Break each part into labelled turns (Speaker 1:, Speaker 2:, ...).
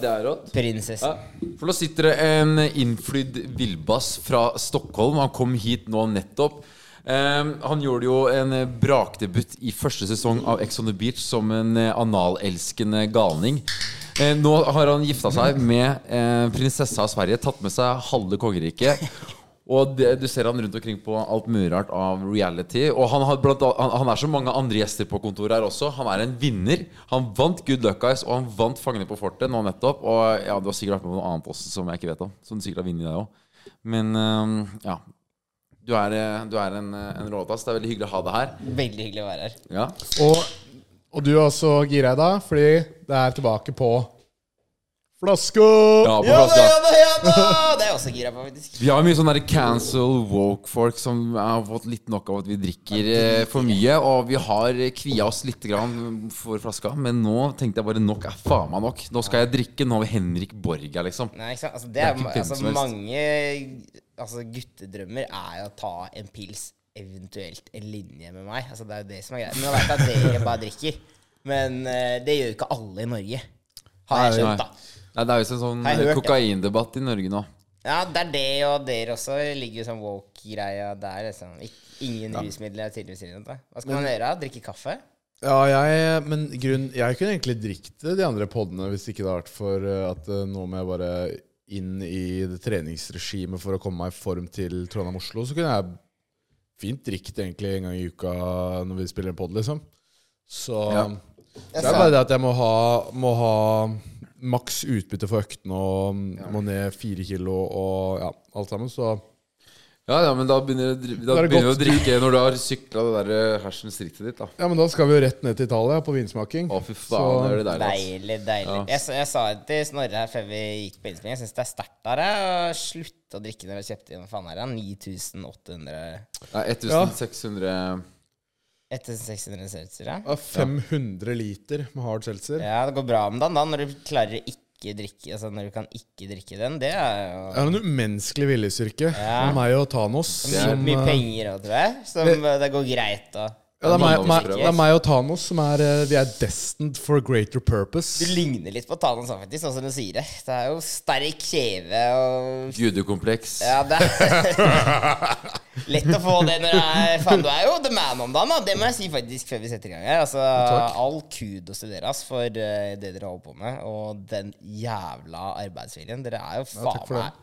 Speaker 1: det er rått. Ja.
Speaker 2: Prinsessen.
Speaker 3: For nå sitter det en innflydd villbass fra Stockholm. Han kom hit nå nettopp. Ehm, han gjorde jo en eh, brakdebut i første sesong av Ex on the Beach som en eh, analelskende galning. Eh, nå har han gifta seg med eh, prinsessa av Sverige, tatt med seg halve kongeriket. Og det, du ser han rundt omkring på alt mulig rart av reality. Og han, har blant, annet- han, han er som mange andre gjester på kontoret her også. Han er en vinner. Han vant Good Luck Guys, og han vant Fangene på fortet nå nettopp. Og ja, du har sikkert vært med på noe annet også som jeg ikke vet om. Som du sikkert har vunnet, deg òg. Men ehm, ja. Du er, eh, du er en, eh, en råtass. Det er veldig hyggelig å ha deg her.
Speaker 2: Veldig hyggelig å være her.
Speaker 3: Ja.
Speaker 4: Og, og du er også gira i dag, fordi det er tilbake på Flasko!
Speaker 3: Ja, på
Speaker 2: Ja da,
Speaker 3: flaska.
Speaker 2: ja da, ja da! Det er jeg også gira på, faktisk.
Speaker 3: Vi har mye sånne der cancel woke-folk som har fått litt nok av at vi drikker eh, for mye. Og vi har eh, kvia oss litt grann for flaska, men nå tenkte jeg bare nok er faen meg nok. Nå skal jeg drikke. Nå har vi Henrik Borg her, liksom.
Speaker 2: Nei, ikke sant? Altså, det
Speaker 3: Det
Speaker 2: er,
Speaker 3: er ikke hvem
Speaker 2: altså,
Speaker 3: som helst.
Speaker 2: mange altså, guttedrømmer er jo å ta en pils, eventuelt en linje med meg. Altså, det er jo det som er greia. Men jeg vet at dere bare drikker. Men eh, det gjør jo ikke alle i Norge. Har jeg skjønt,
Speaker 3: Nei.
Speaker 2: da.
Speaker 3: Nei, det er jo en sånn
Speaker 2: Har jeg hørt, ja.
Speaker 3: kokaindebatt i Norge nå.
Speaker 2: Ja, det er det, og dere også ligger jo sånn woke-greia der. Liksom. Ik- Ingen rusmidler er tydeligvis innrømt. Hva skal man gjøre? da? Drikke kaffe?
Speaker 4: Ja, jeg, men grunn, jeg kunne egentlig drikket de andre podene hvis ikke det hadde vært for eh, at eh, nå må jeg bare inn i det treningsregimet for å komme meg i form til Trondheim-Oslo. Så kunne jeg fint drikket egentlig en gang i uka når vi spiller en pod, liksom. Så
Speaker 3: Ja.
Speaker 4: det er bare det at jeg må ha, må ha maks utbytte for øktene og mm, må ned fire kilo og ja, alt sammen. Så
Speaker 3: Ja, ja, men da begynner du å dri- da
Speaker 4: Da er det
Speaker 3: begynner du å
Speaker 4: godt.
Speaker 3: drikke når du har sykla det der eh, hersens rittet ditt, da.
Speaker 4: ja, men da skal vi jo rett ned til Italia på vinsmaking.
Speaker 3: Å, fy faen,
Speaker 4: Så-
Speaker 3: det altså? er det deilig. ass.
Speaker 2: Deilig, deilig.
Speaker 3: Ja.
Speaker 2: Jeg, sa- jeg sa det til Snorre her før vi gikk på innspilling. Jeg syns det er sterkt der jeg, å slutte å drikke når jeg kjøpte inn faen her, ja, 9800
Speaker 3: Det er 1600
Speaker 2: 1600 seltzer. Ja.
Speaker 4: Ja, 500 liter med hard seltzer.
Speaker 2: ja, det går bra med den da, når du klarer å ikke drikke Altså når du kan ikke drikke den. Det er jo
Speaker 4: Det er en umenneskelig viljestyrke
Speaker 2: Ja.
Speaker 4: av meg og Thanos.
Speaker 2: mye,
Speaker 4: som,
Speaker 2: mye
Speaker 4: eh,
Speaker 2: penger òg, tror jeg. Som eh, det går greit å
Speaker 4: Ja, det, er meg,
Speaker 3: Mange
Speaker 4: meg,
Speaker 3: oversprøyt.
Speaker 4: det er meg og Thanos som er eh, Vi er destined for a greater
Speaker 2: Du
Speaker 4: purpose.
Speaker 2: ligner litt på Tanan sånn faktisk, sånn som du sier det. Det er jo sterk kjeve og
Speaker 3: judekompleks.
Speaker 2: Ja, det er Lett å få det når det er Faen, du er jo the man om dagen, da. Det må jeg si faktisk før vi setter i gang her. Altså, all kudos til dere ass, for eh, det dere holder på med, og den jævla arbeidsviljen. Dere er jo faen
Speaker 4: takk for det.
Speaker 2: meg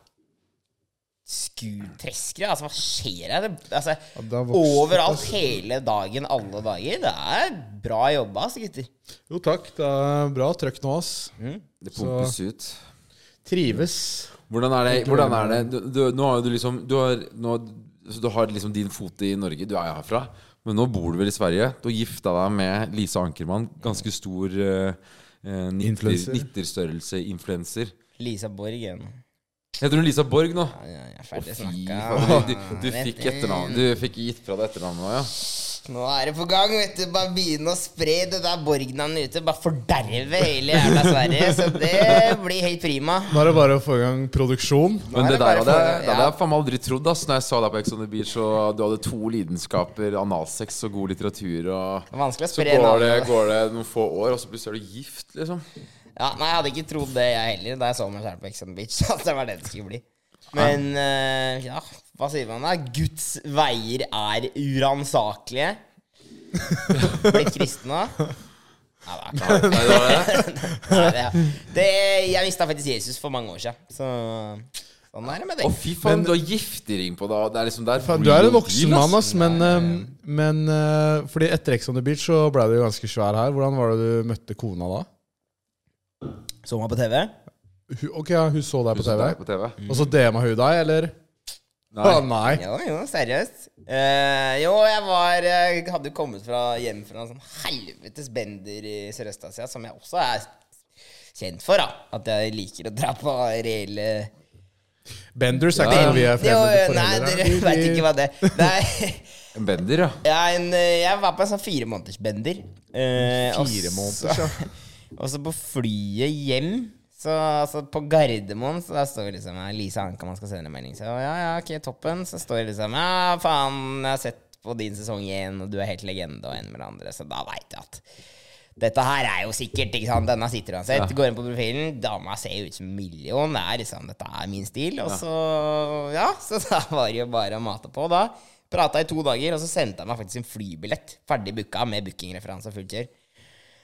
Speaker 2: skutreskere. Altså, hva skjer her? Det- Altså,
Speaker 4: det har vokst
Speaker 2: overalt, hele dagen, alle dager. Det er bra jobba, altså, gutter.
Speaker 4: Jo takk, det er bra trøkk nå, ass.
Speaker 3: Det pumpes ut.
Speaker 4: Trives.
Speaker 3: Hvordan er det, hvordan er det? Du, du, Nå har jo du liksom du har, nå, så du har liksom din fot i Norge, du er jo herfra. Men nå bor du vel i Sverige? Du har gifta deg med Lise Ankermann. Ganske stor eh, eh, nitter,
Speaker 4: Influencer.
Speaker 3: nitterstørrelse-influencer.
Speaker 2: Lisa Borgen.
Speaker 3: Heter hun Lisa Borg nå?
Speaker 2: Ja, jeg er ferdig
Speaker 3: Fy
Speaker 2: snakka.
Speaker 3: faen, du, du, du fikk etternavn Du fikk gitt fra deg etternavnet nå, ja?
Speaker 2: Nå er det på gang, vet du. Bare begynne å spre det der Borg-navnet ute. Bare forderve hele jævla Sverige. Så det blir helt prima.
Speaker 4: Nå er det bare å få i gang produksjon.
Speaker 3: Men
Speaker 2: er
Speaker 3: det
Speaker 2: det
Speaker 3: der
Speaker 2: bare
Speaker 3: hadde jeg,
Speaker 2: for-
Speaker 3: det hadde
Speaker 2: ja.
Speaker 3: jeg faen meg aldri trodd. ass Når jeg så deg på Ex on the Beach, og du hadde to lidenskaper, analsex og god litteratur og
Speaker 2: Det er vanskelig å
Speaker 3: Så
Speaker 2: spre
Speaker 3: går det,
Speaker 2: navnet.
Speaker 3: går det noen få år, og så plutselig er du gift, liksom.
Speaker 2: Ja, nei, jeg hadde ikke trodd det, jeg heller, da jeg så meg selv på Ex on the Beach. At det var det det skulle bli. Men eh, ja, hva sier man da? Guds veier er uransakelige. Blitt kristen nå? Nei, det er ikke
Speaker 3: Nei, det var det.
Speaker 2: Nei, det. er- det jeg mista faktisk Jesus for mange år siden, så sånn er det
Speaker 3: Å,
Speaker 2: med det.
Speaker 3: fy faen, du har giftering på deg. og Det er liksom der
Speaker 4: Faen, du er en voksen mann, ass, men, eh, men eh, Fordi etter Ex on the Beach så ble du jo ganske svær her. Hvordan var det du møtte kona da?
Speaker 2: Så meg på TV?
Speaker 4: Hun, ok, ja, hun så deg på TV,
Speaker 3: På TV.
Speaker 4: og så DM-a hun deg, eller?
Speaker 3: Nei.
Speaker 4: Å, nei.
Speaker 2: Jo, jo, seriøst. Eh, jo, jeg var Jeg hadde jo kommet fra hjem fra en sånn helvetes bender i Sørøst-Asia, som jeg også er kjent for, da. At jeg liker å dra på reelle
Speaker 4: Benders er ikke noe vi er
Speaker 2: Jo,
Speaker 4: fremmede for
Speaker 2: Nei,
Speaker 4: heller.
Speaker 2: dere veit ikke hva det Nei.
Speaker 3: En bender, ja.
Speaker 2: Jeg, er en, jeg var på en sånn fire måneders bender. Eh, og
Speaker 4: Fire
Speaker 2: så-
Speaker 4: måneders,
Speaker 2: Og så på flyet hjem så, altså På Gardermoen så der står liksom ja, Lise Ankermann skal sende en melding. Så ja, ja, ok, toppen. Så står det liksom Ja, faen, jeg har sett på din sesong igjen, og du er helt legende, og en med det andre. Så da veit jeg at Dette her er jo sikkert, ikke sant? Denne sitter uansett. Går inn på profilen, dama ser ut som en million. Det er liksom, dette er min stil. Og så, ja, så da var det jo bare å mate på, da. Prata i to dager, og så sendte han meg faktisk en flybillett. Ferdig booka med bookingreferanse og fullt kjør.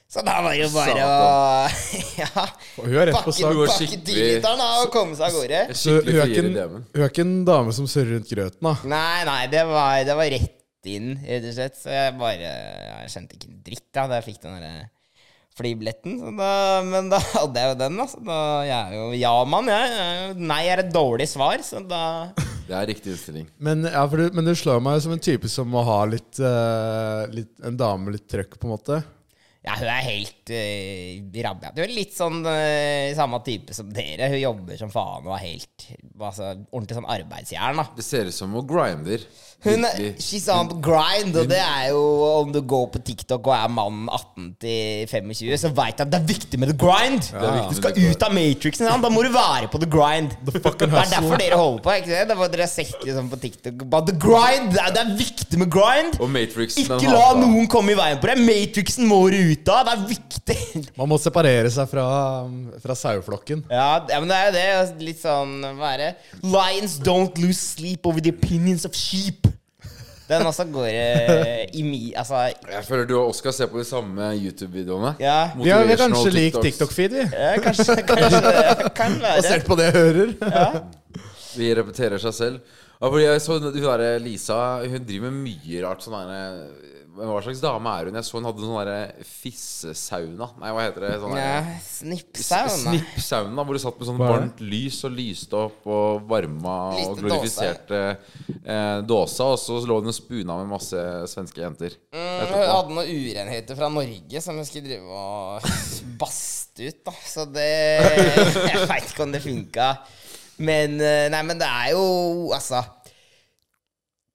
Speaker 2: Så da var det jo bare å ja,
Speaker 4: Og hun er rett på
Speaker 2: pakke,
Speaker 4: sak.
Speaker 3: Hun var
Speaker 2: pakke
Speaker 3: skikkelig-
Speaker 2: dyrlytteren da, og komme seg av gårde.
Speaker 4: Så hun
Speaker 3: Skikkelig
Speaker 4: er,
Speaker 3: frier i
Speaker 4: ikke en,
Speaker 3: DM-en.
Speaker 4: hun er ikke en dame som surrer rundt grøten, da.
Speaker 2: Nei, nei, det var, det var rett inn, rett og slett. Så jeg bare ja, Jeg skjønte ikke en dritt da da jeg fikk den der eh, flybilletten. Så da, men da hadde jeg jo den, da. Så da jeg er jo ja-mann, jeg. jeg. er jo- Nei er et dårlig svar, så da
Speaker 3: Det er riktig innstilling.
Speaker 4: Men, ja, for du, men du slår meg som en type som må ha litt, eh, litt En dame med litt trøkk, på en måte.
Speaker 2: Ja, hun er helt uh, rabia. Du er litt sånn eh, samme type som dere. Hun jobber som faen og er helt altså, ordentlig sånn arbeidsjern, da.
Speaker 3: Det ser ut som hun grinder.
Speaker 2: Hun er,
Speaker 3: Virkelig.
Speaker 2: she's on the grind, og det er jo om du går på TikTok og er mannen 18 til 25, så veit jeg at det er viktig med the grind.
Speaker 3: er viktig
Speaker 2: du
Speaker 3: med
Speaker 2: skal
Speaker 3: the grind.
Speaker 2: ut av matrixen, sant? da må du være på the grind. det
Speaker 4: fucking
Speaker 2: er
Speaker 4: hustle.
Speaker 2: derfor dere holder på. ikke det? Det var Dere har sett liksom på TikTok But the grind, det er, det er viktig med grind.
Speaker 3: Og Matrix den
Speaker 2: Ikke la
Speaker 3: hata.
Speaker 2: noen komme i veien på deg. Matrixen må du ut av. Det er viktig.
Speaker 4: Man må separere seg fra, fra saueflokken.
Speaker 2: Ja, d- ja, men det er jo det. altså, Litt sånn Hva er det? Lions don't lose sleep over the opinions of sheep. Den også går eh, i mi... Altså
Speaker 3: Jeg føler du og Oskar ser på de samme YouTube-videoene.
Speaker 2: Ja.
Speaker 4: Vi har vi har
Speaker 3: Motivational
Speaker 4: kanskje lik
Speaker 3: TikToks.
Speaker 4: TikTok-feed, vi.
Speaker 2: ja, kanskje, kanskje det kan være.
Speaker 4: Basert på det jeg hører.
Speaker 3: De repeterer seg selv. Ja, fordi jeg så hun der Lisa Hun driver med mye rart. Sånn der, men hva slags dame er hun? Jeg så hun hadde sånn der fissesauna. Nei, hva heter det? Sånn
Speaker 2: Ja,
Speaker 3: der,
Speaker 2: Snippsauna.
Speaker 3: Snippsauna, hvor du satt med sånn
Speaker 4: Hva er
Speaker 3: varmt lys og lyste opp og varma
Speaker 2: Liten
Speaker 3: og glorifiserte eh, dåsa. Og så lå hun og spuna med masse svenske jenter.
Speaker 2: Mm, hun hadde noen urenheter fra Norge som hun skulle drive og baste ut, da. Så det Jeg veit ikke om det funka. Men eh, Nei, men det er jo Altså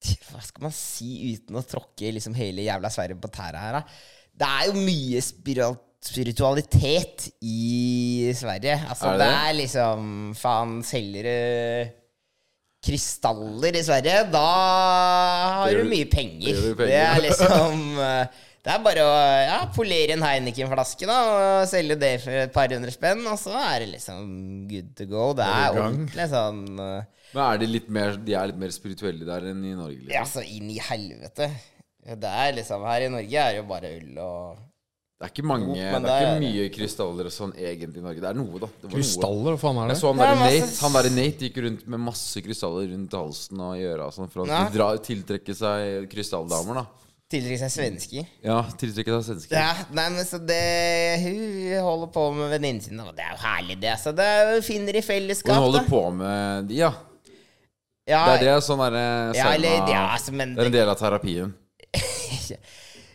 Speaker 2: Hva skal man si uten å tråkke liksom hele jævla Sverige på tæra her, da? Det er jo mye spiral- spiritualitet i Sverige. Altså,
Speaker 3: Er det
Speaker 2: det,
Speaker 3: det?
Speaker 2: er liksom Faen, selger du krystaller i Sverige, da har
Speaker 3: Det gjør
Speaker 2: du
Speaker 3: du-
Speaker 2: mye penger.
Speaker 3: Det gjør du penger.
Speaker 2: Det er liksom eh, Det er bare å ja, polere en Heineken-flaske da og selge det for et par hundre spenn, og så er det liksom good to go. Det er
Speaker 4: gang.
Speaker 2: ordentlig sånn eh,
Speaker 3: Men er de, litt mer, de er litt mer spirituelle der enn i Norge? Liksom?
Speaker 2: Ja, så inn i helvete. Det er liksom Her i Norge er det jo bare øl og
Speaker 3: Det er ikke mange
Speaker 2: Jo,
Speaker 3: Det
Speaker 2: men
Speaker 3: er
Speaker 2: det
Speaker 3: ikke
Speaker 2: er-
Speaker 3: mye krystaller og sånn egentlig i Norge. Det er noe, da. Det var noe.
Speaker 4: Krystaller, hva faen er
Speaker 3: Jeg
Speaker 4: det?
Speaker 3: så han
Speaker 2: Det
Speaker 3: der
Speaker 2: er masse-
Speaker 3: Nate Han der Nate gikk rundt med masse krystaller rundt halsen og i øra og sånn, for å
Speaker 2: Ja.
Speaker 3: dra, tiltrekke seg krystalldamer, da.
Speaker 2: tiltrekke seg svensker.
Speaker 3: Ja, tiltrekke seg svensker.
Speaker 2: Ja, nei, men så det Hun holder på med venninnen sin, og det er jo herlig, det. Så det er jo finner i
Speaker 3: Og hun
Speaker 2: fellesskap,
Speaker 3: holder på med de, ja.
Speaker 2: Ja,
Speaker 3: Det er det sånn derre
Speaker 2: ja, eller, ja,
Speaker 3: sauna
Speaker 2: altså, men
Speaker 3: Det er en del av terapien.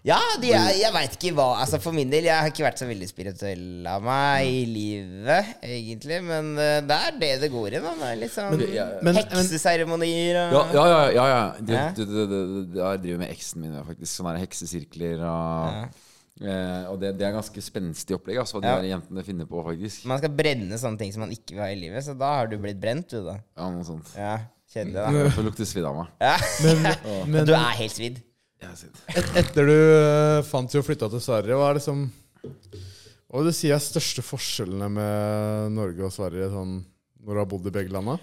Speaker 2: Ja, de, jeg, jeg veit ikke hva Altså For min del, jeg har ikke vært så veldig spirituell av meg i livet, egentlig. Men eh, det er det det går i, da. Det er litt sånn
Speaker 4: men-
Speaker 2: hekseseremonier og
Speaker 3: Ja, ja, ja. ja, ja. Det,
Speaker 2: Ja.
Speaker 3: det, det, det, det, jeg driver med eksen min, ja, faktisk. Sånne der heksesirkler og Eh, og det, det er ganske spenstig opplegg, altså, hva de
Speaker 2: Ja.
Speaker 3: der jentene finner på, faktisk.
Speaker 2: Man skal brenne sånne ting som man ikke vil ha i livet, så da har du blitt brent, du, da.
Speaker 3: Ja, noe sånt.
Speaker 2: Ja, Kjedelig,
Speaker 3: Så lukter svidd av meg.
Speaker 2: da. Ja.
Speaker 4: Men
Speaker 2: Du er helt svidd.
Speaker 3: Jeg sier det.
Speaker 4: et, etter du eh, fant jo og flytta til Sverige, hva er det som Hva vil du si er største forskjellene med Norge og Sverige sånn, når du har bodd i begge landa?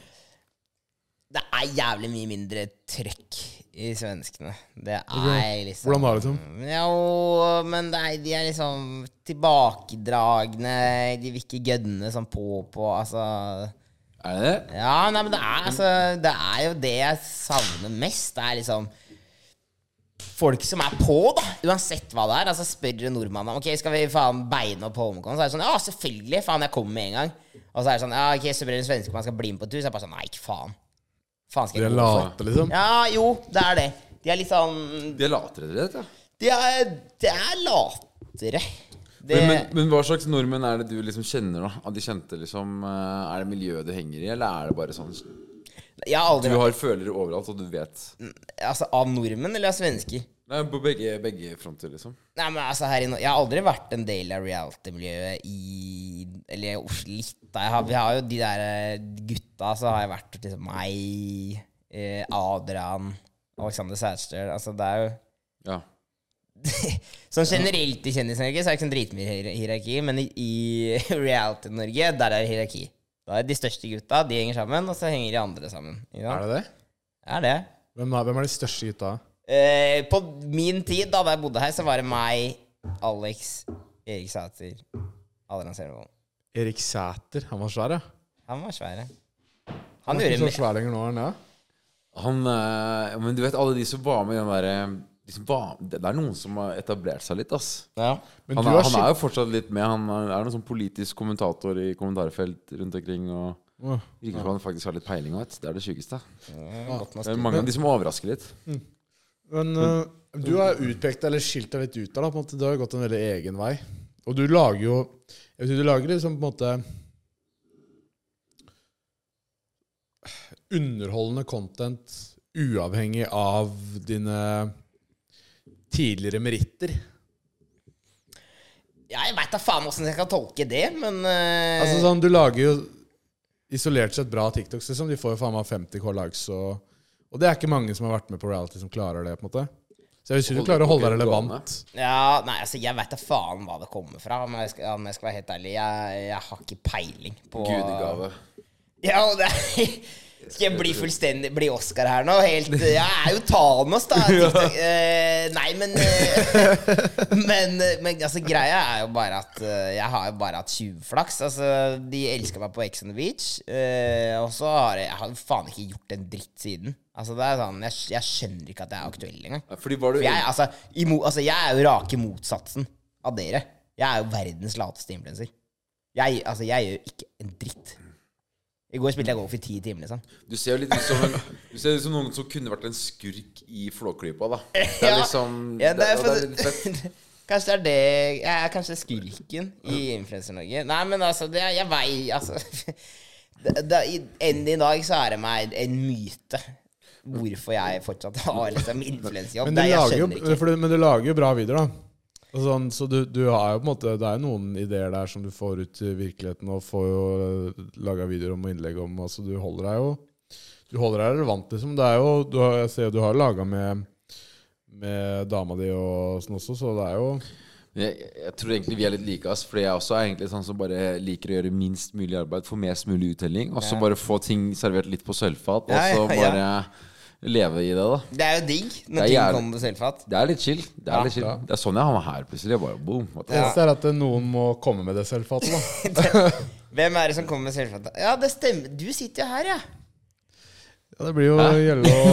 Speaker 2: Det er jævlig mye mindre trøkk i svenskene. Det er
Speaker 4: Ok.
Speaker 2: liksom
Speaker 4: Hvordan da, liksom?
Speaker 2: Ja, og- men det er, de er liksom tilbakedragne. De vil ikke gønne sånn på og på. Altså
Speaker 3: Er det det?
Speaker 2: Ja, nei, men det er, altså, det er jo det jeg savner mest. Det er liksom folk som er på, da. Uansett hva det er. Altså Spør du nordmannen om Ok, skal vi faen beine opp Holmenkollen, så er det sånn Ja, selvfølgelig! Faen, jeg kommer med en gang. Og så er det sånn Ja, ok, så blir det en svenske man skal bli med på tur. Så er det bare sånn Nei, ikke faen. Faen skal
Speaker 4: Dere
Speaker 2: jeg gå for?
Speaker 4: late, liksom?
Speaker 2: Ja, jo, det er det. De er litt sånn
Speaker 3: De er latere, dere, vet du.
Speaker 2: De er, de er latere. Det,
Speaker 3: Men, men, men hva slags nordmenn er det du liksom kjenner, da? Av de kjente, liksom eh, Er det miljøet du henger i, eller er det bare sånn Du
Speaker 2: jeg har aldri vært
Speaker 3: har følere overalt, og du vet
Speaker 2: Altså, av nordmenn eller av svensker?
Speaker 3: Nei, på begge, begge fronter, liksom.
Speaker 2: Nei, men altså her i Norge Jeg har aldri vært en del av reality-miljøet i Eller uff, litt da. Jeg har, vi har jo de der eh, gutta, så har jeg vært liksom meg, eh, Adrian, Alexander Sætstøl Altså, det er jo
Speaker 3: Ja.
Speaker 2: Sånn generelt i Kjendis-Norge så er det ikke sånn dritmye hier- hierarki, men i, i reality-Norge, der er det hierarki. Da er de største gutta, de henger sammen, og så henger de andre sammen. Ikke
Speaker 4: Er
Speaker 2: sant?
Speaker 4: det det?
Speaker 2: Er det?
Speaker 4: Hvem er, hvem er de største gutta?
Speaker 2: Eh, på min tid, da, da jeg bodde her, så var det meg, Alex, Erik Sæter, Adrian Selvold.
Speaker 4: Erik Sæter. Han var svær, ja.
Speaker 2: Han var svær, ja.
Speaker 4: Han
Speaker 2: Han
Speaker 4: er ikke
Speaker 2: gjorde
Speaker 4: så svær lenger nå, er han det?
Speaker 3: Han eh, ja, Men du vet, alle de som var med i den derre de som var- Det det er noen som har etablert seg litt, ass.
Speaker 2: ja.
Speaker 4: Men
Speaker 3: han,
Speaker 4: du
Speaker 3: er,
Speaker 4: har
Speaker 3: han er jo fortsatt litt med. Han er, er noen sånn politisk kommentator i kommentarfelt rundt omkring. Og
Speaker 4: Åh.
Speaker 3: virker som han faktisk har litt peiling av det. Det er det sjukeste.
Speaker 2: Ja, godt
Speaker 3: Det er
Speaker 2: norsk.
Speaker 3: mange av de som overrasker litt.
Speaker 4: Men øh, du har utpekt deg, eller skilt deg litt ut der. da, på en måte. Du har jo gått en veldig egen vei. Og du lager jo jeg vet, Du lager liksom på en måte underholdende content uavhengig av dine tidligere meritter.
Speaker 2: Ja, jeg veit da faen åssen jeg skal tolke det, men eh,
Speaker 4: Altså sånn, Du lager jo isolert sett bra TikToks. liksom. De får jo faen meg 50K likes. Og, og det er ikke mange som har vært med på reality, som klarer det. på en måte. Så jeg vil si du
Speaker 3: Holder
Speaker 4: klarer å holde deg
Speaker 3: konkurrenten
Speaker 4: relevant.
Speaker 2: Ja, nei, altså Jeg veit da faen hva det kommer fra, om jeg skal, om jeg skal være helt ærlig. Jeg, jeg har ikke peiling på
Speaker 3: Gudegave.
Speaker 2: Ja, og det er, Skal jeg bli fullstendig Bli Oscar her nå? Helt Jeg er jo Thanos, da. TikTok. Eh, nei, men, eh, men eh, Men altså, greia er jo bare at eh, jeg har jo bare hatt tjuvflaks. Altså, de elska meg på Ex on the Beach, eh, og så har jeg, jeg har jo faen ikke gjort en dritt siden. Altså, det er sånn Jeg, jeg skjønner ikke at jeg er aktuell engang.
Speaker 3: Ja, Fordi var du
Speaker 2: For jeg, altså, imo, altså, jeg er jo rake motsatsen av dere. Jeg er jo verdens lateste influenser. Jeg, altså, jeg gjør ikke en dritt. I går spilte jeg golf i ti timer, liksom.
Speaker 3: Du ser jo litt ut som, en, du ser ut som noen som kunne vært en skurk i Flåklypa, da. Det er
Speaker 2: Ja.
Speaker 3: liksom
Speaker 2: Ja, det
Speaker 3: det-
Speaker 2: er
Speaker 3: det er litt fett.
Speaker 2: for, kanskje det er det Jeg er kanskje skurken i Influencer-Norge. Nei, men altså, det, jeg vei altså, det, det, i- Enn i dag så er det meg en myte hvorfor jeg fortsatt har liksom influenserjobb.
Speaker 4: Men du,
Speaker 2: Det- Jeg
Speaker 4: lager jo,
Speaker 2: skjønner ikke.
Speaker 4: for du, men du lager jo bra videoer, da. Og sånn, så du, du har jo på en måte Det er jo noen ideer der som du får ut i virkeligheten, og får jo eh, laga videoer om og innlegg om. Altså, du holder deg jo Du holder deg relevant, liksom. Det er jo, du har, jeg ser jo du har laga med, med dama di og sånn også, så det er jo
Speaker 3: Jeg, jeg tror egentlig vi er litt like, ass. Fordi jeg også er egentlig sånn som bare liker å gjøre minst mulig arbeid, få mest mulig uttelling, og så bare få ting servert litt på sølvfat, og
Speaker 2: Ja, ja,
Speaker 3: så
Speaker 2: ja.
Speaker 3: bare leve i det, da.
Speaker 2: Det er jo digg
Speaker 3: Det er
Speaker 2: når ting
Speaker 3: jævlig.
Speaker 2: kommer på sølvfat.
Speaker 3: Det er litt chill. Det er,
Speaker 2: Ja.
Speaker 3: litt chill. Det er sånn jeg havna her plutselig. Jeg bare boom. what the
Speaker 4: Det eneste er at eh, noen må komme med det selvfattet, da.
Speaker 2: Hvem er det som kommer med selvfatta? Ja, det stemmer. Du sitter jo her, ja.
Speaker 4: Ja, det blir jo gjelde å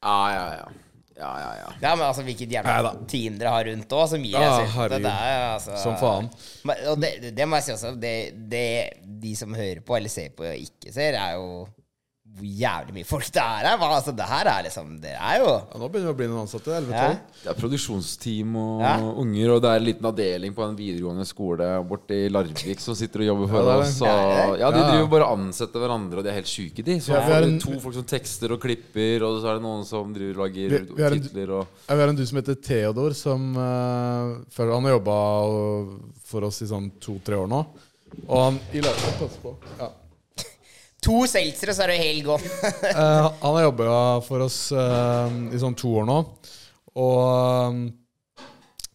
Speaker 3: Ja, ja, ja. ja, ja, ja.
Speaker 2: Ja, men altså, hvilket jævla
Speaker 4: Neida.
Speaker 2: team dere har rundt òg, som gir deg
Speaker 4: Ja,
Speaker 2: selvfatta.
Speaker 4: herregud.
Speaker 2: Det er jo altså
Speaker 4: Som faen.
Speaker 2: Men- Og det, det må jeg si også, det, det de som hører på, eller ser på og ikke ser, er jo hvor jævlig mye folk det er her. Hva, altså, det her er liksom Det er jo
Speaker 4: Ja, nå begynner vi å bli noen ansatte. 11-12.
Speaker 2: ja.
Speaker 3: Det er produksjonsteam og
Speaker 2: Ja.
Speaker 3: unger, og det er en liten avdeling på en videregående skole borti Larvik som sitter og jobber for
Speaker 4: Ja, det er det.
Speaker 3: oss.
Speaker 2: Ja,
Speaker 3: Og,
Speaker 2: det
Speaker 3: ja, De
Speaker 4: Ja.
Speaker 3: driver bare og ansetter hverandre, og de er helt sjuke, de. Så
Speaker 4: Ja, vi har
Speaker 3: får du
Speaker 4: en-
Speaker 3: to folk som tekster og klipper, og så er det noen som driver og lager
Speaker 4: Vi- vi har en-
Speaker 3: titler og
Speaker 4: Ja, Vi har en du som heter Theodor, som eh, før han har jobba for oss i sånn to-tre år nå. Og han i løpet, pass på. Ja.
Speaker 2: To seltzere, så er du helt gone.
Speaker 4: Eh, han har jobba for oss eh, i sånn to år nå. Og eh,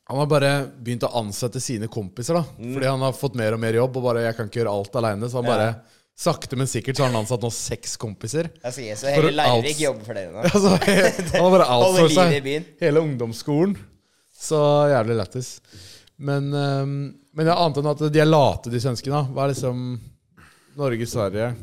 Speaker 4: han har bare begynt å ansette sine kompiser, da.
Speaker 2: Mm.
Speaker 4: Fordi han har fått mer og mer jobb, og bare 'jeg kan ikke gjøre alt aleine', så han bare Sakte, men sikkert så har han ansatt nå seks kompiser.
Speaker 2: Jeg sier så hele
Speaker 4: For
Speaker 2: Larvik
Speaker 4: alt-
Speaker 2: jobber for dere nå.
Speaker 4: Altså, han har bare
Speaker 2: Holder
Speaker 4: outsourca
Speaker 2: liv i byen.
Speaker 4: hele ungdomsskolen. Så jævlig lættis. Men, um, men jeg ante enn at de er late, de svenskene. da. Hva er liksom Norge, Sverige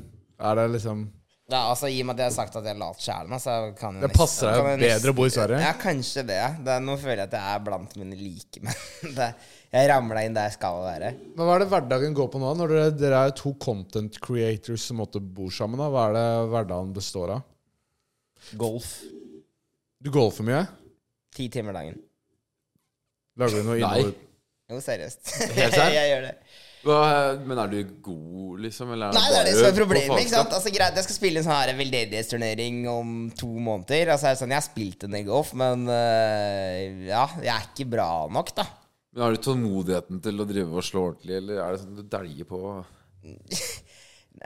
Speaker 4: Er det liksom
Speaker 2: Ja, altså I og med at jeg har sagt at jeg er lat sjæl, så kan jeg
Speaker 4: Det
Speaker 2: nesten-
Speaker 4: passer deg jo
Speaker 2: kan jeg liksom-
Speaker 4: bedre å bo i Sverige.
Speaker 2: Ja, kanskje det. det er, nå føler jeg at jeg er blant mine like, men det, jeg ramla inn der jeg skal være.
Speaker 4: Men hva er det hverdagen går på nå? Når dere, dere er jo to content creators som måtte bor sammen, da. Hva er det hverdagen består av?
Speaker 2: Golf.
Speaker 4: Du golfer mye?
Speaker 2: Ti timer dagen.
Speaker 4: Lager du noe
Speaker 3: Nei.
Speaker 4: innhold?
Speaker 2: Jo, seriøst.
Speaker 3: Helt sant?
Speaker 2: jeg gjør det.
Speaker 3: Hva- Men er du god, liksom? Eller
Speaker 2: Nei, det er det
Speaker 3: bare
Speaker 2: som er problemet.
Speaker 3: på
Speaker 2: ikke sant?
Speaker 3: faenskap?
Speaker 2: Altså greit, Jeg skal spille en sånn her veldedighetsturnering om to måneder. Altså, er det sånn, Jeg har spilt en i golf, men øh, ja, jeg er ikke bra nok, da.
Speaker 3: Men Har du tålmodigheten til å drive og slå ordentlig, eller er det sånn du dæljer på?
Speaker 2: Nei,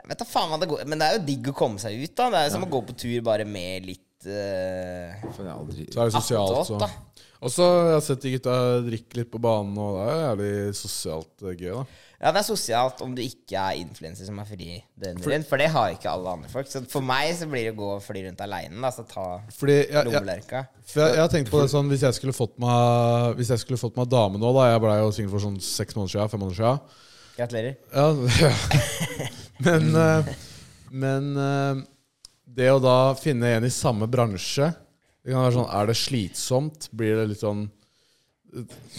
Speaker 2: Vet da faen hva det går Men det er jo digg å komme seg ut, da. Det er jo som å gå på tur bare med litt eh,
Speaker 3: For jeg har aldri
Speaker 4: Så er det sosialt,
Speaker 2: Attåt, da.
Speaker 4: så. Og så har jeg sett de gutta drikke litt på banen, og det er jævlig sosialt eh, gøy, da.
Speaker 2: Ja, det er sosialt om du ikke er influenser som er fri døgnet rundt, for det har ikke alle andre folk. Så for meg så blir det å gå og fly rundt aleine, da, så ta
Speaker 4: Fordi jeg, jeg,
Speaker 2: lommelerka.
Speaker 4: For jeg, jeg har tenkt på det sånn Hvis jeg skulle fått meg Hvis jeg skulle fått meg dame nå da Jeg ble jo singel for sånn seks måneder siden Fem måneder siden
Speaker 2: Gratulerer.
Speaker 4: ja, Men eh, Men eh, Det å da finne en i samme bransje Det kan være sånn Er det slitsomt? Blir det litt sånn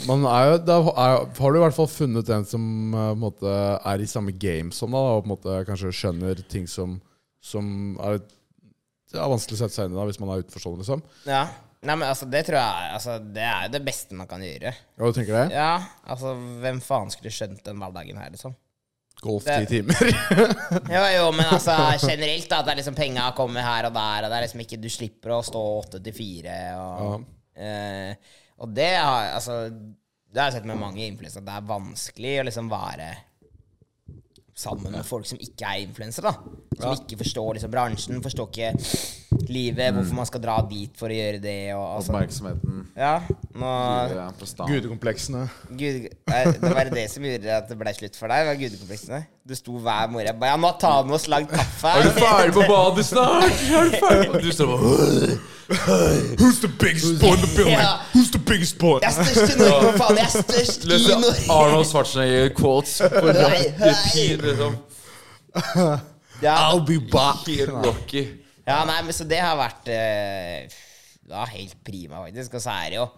Speaker 4: man er jo, da er, har du i hvert fall funnet en som eh, på en måte, er i samme game som deg, da, og på en måte kanskje skjønner ting som, som er, det er vanskelig å sette seg inn i da, hvis man er utenforstående. Liksom.
Speaker 2: Ja. Nei, men altså, det tror jeg er- altså, Det er jo det beste man kan gjøre.
Speaker 4: Ja, du tenker det?
Speaker 2: Ja, altså, hvem faen skulle skjønt den hverdagen her, liksom?
Speaker 4: Golf ti
Speaker 2: Det-
Speaker 4: timer.
Speaker 2: Jo, jo, men altså, generelt, da. At det er liksom penga kommer her og der, og det er liksom ikke Du slipper å stå åtte til fire, og eh, Og det har Altså, det har jeg sett med mange influensere, at det er vanskelig å liksom være sammen med folk som ikke er influensere, da. Som ikke forstår liksom bransjen, forstår ikke livet, hvorfor man skal dra dit for å gjøre det, og altså
Speaker 3: Oppmerksomheten
Speaker 2: Ja, nå
Speaker 3: ja, på stan.
Speaker 4: Gudekompleksene.
Speaker 2: Gud, nei, det var det som gjorde at det ble slutt for deg? var Gudekompleksene? Du sto hver morgen og bare Ja, nå tar vi oss langt kaffe.
Speaker 3: Er du ferdig på badet snart? Er du ferdig? Og du står bare
Speaker 4: Who's the biggest boy in the building?
Speaker 2: Ja.
Speaker 4: Who's the biggest boy?
Speaker 2: Jeg er størst i Norge, for faen! Jeg er størst i
Speaker 3: Løser
Speaker 2: Norge!
Speaker 3: Arnold Schwarzenegger-quotes på
Speaker 2: Nei,
Speaker 3: rapid, liksom.
Speaker 2: Ja,
Speaker 4: be back.
Speaker 3: Helt Rocky.
Speaker 2: ja nei, men så det har vært eh, ja, helt prima, faktisk. Og så er det jo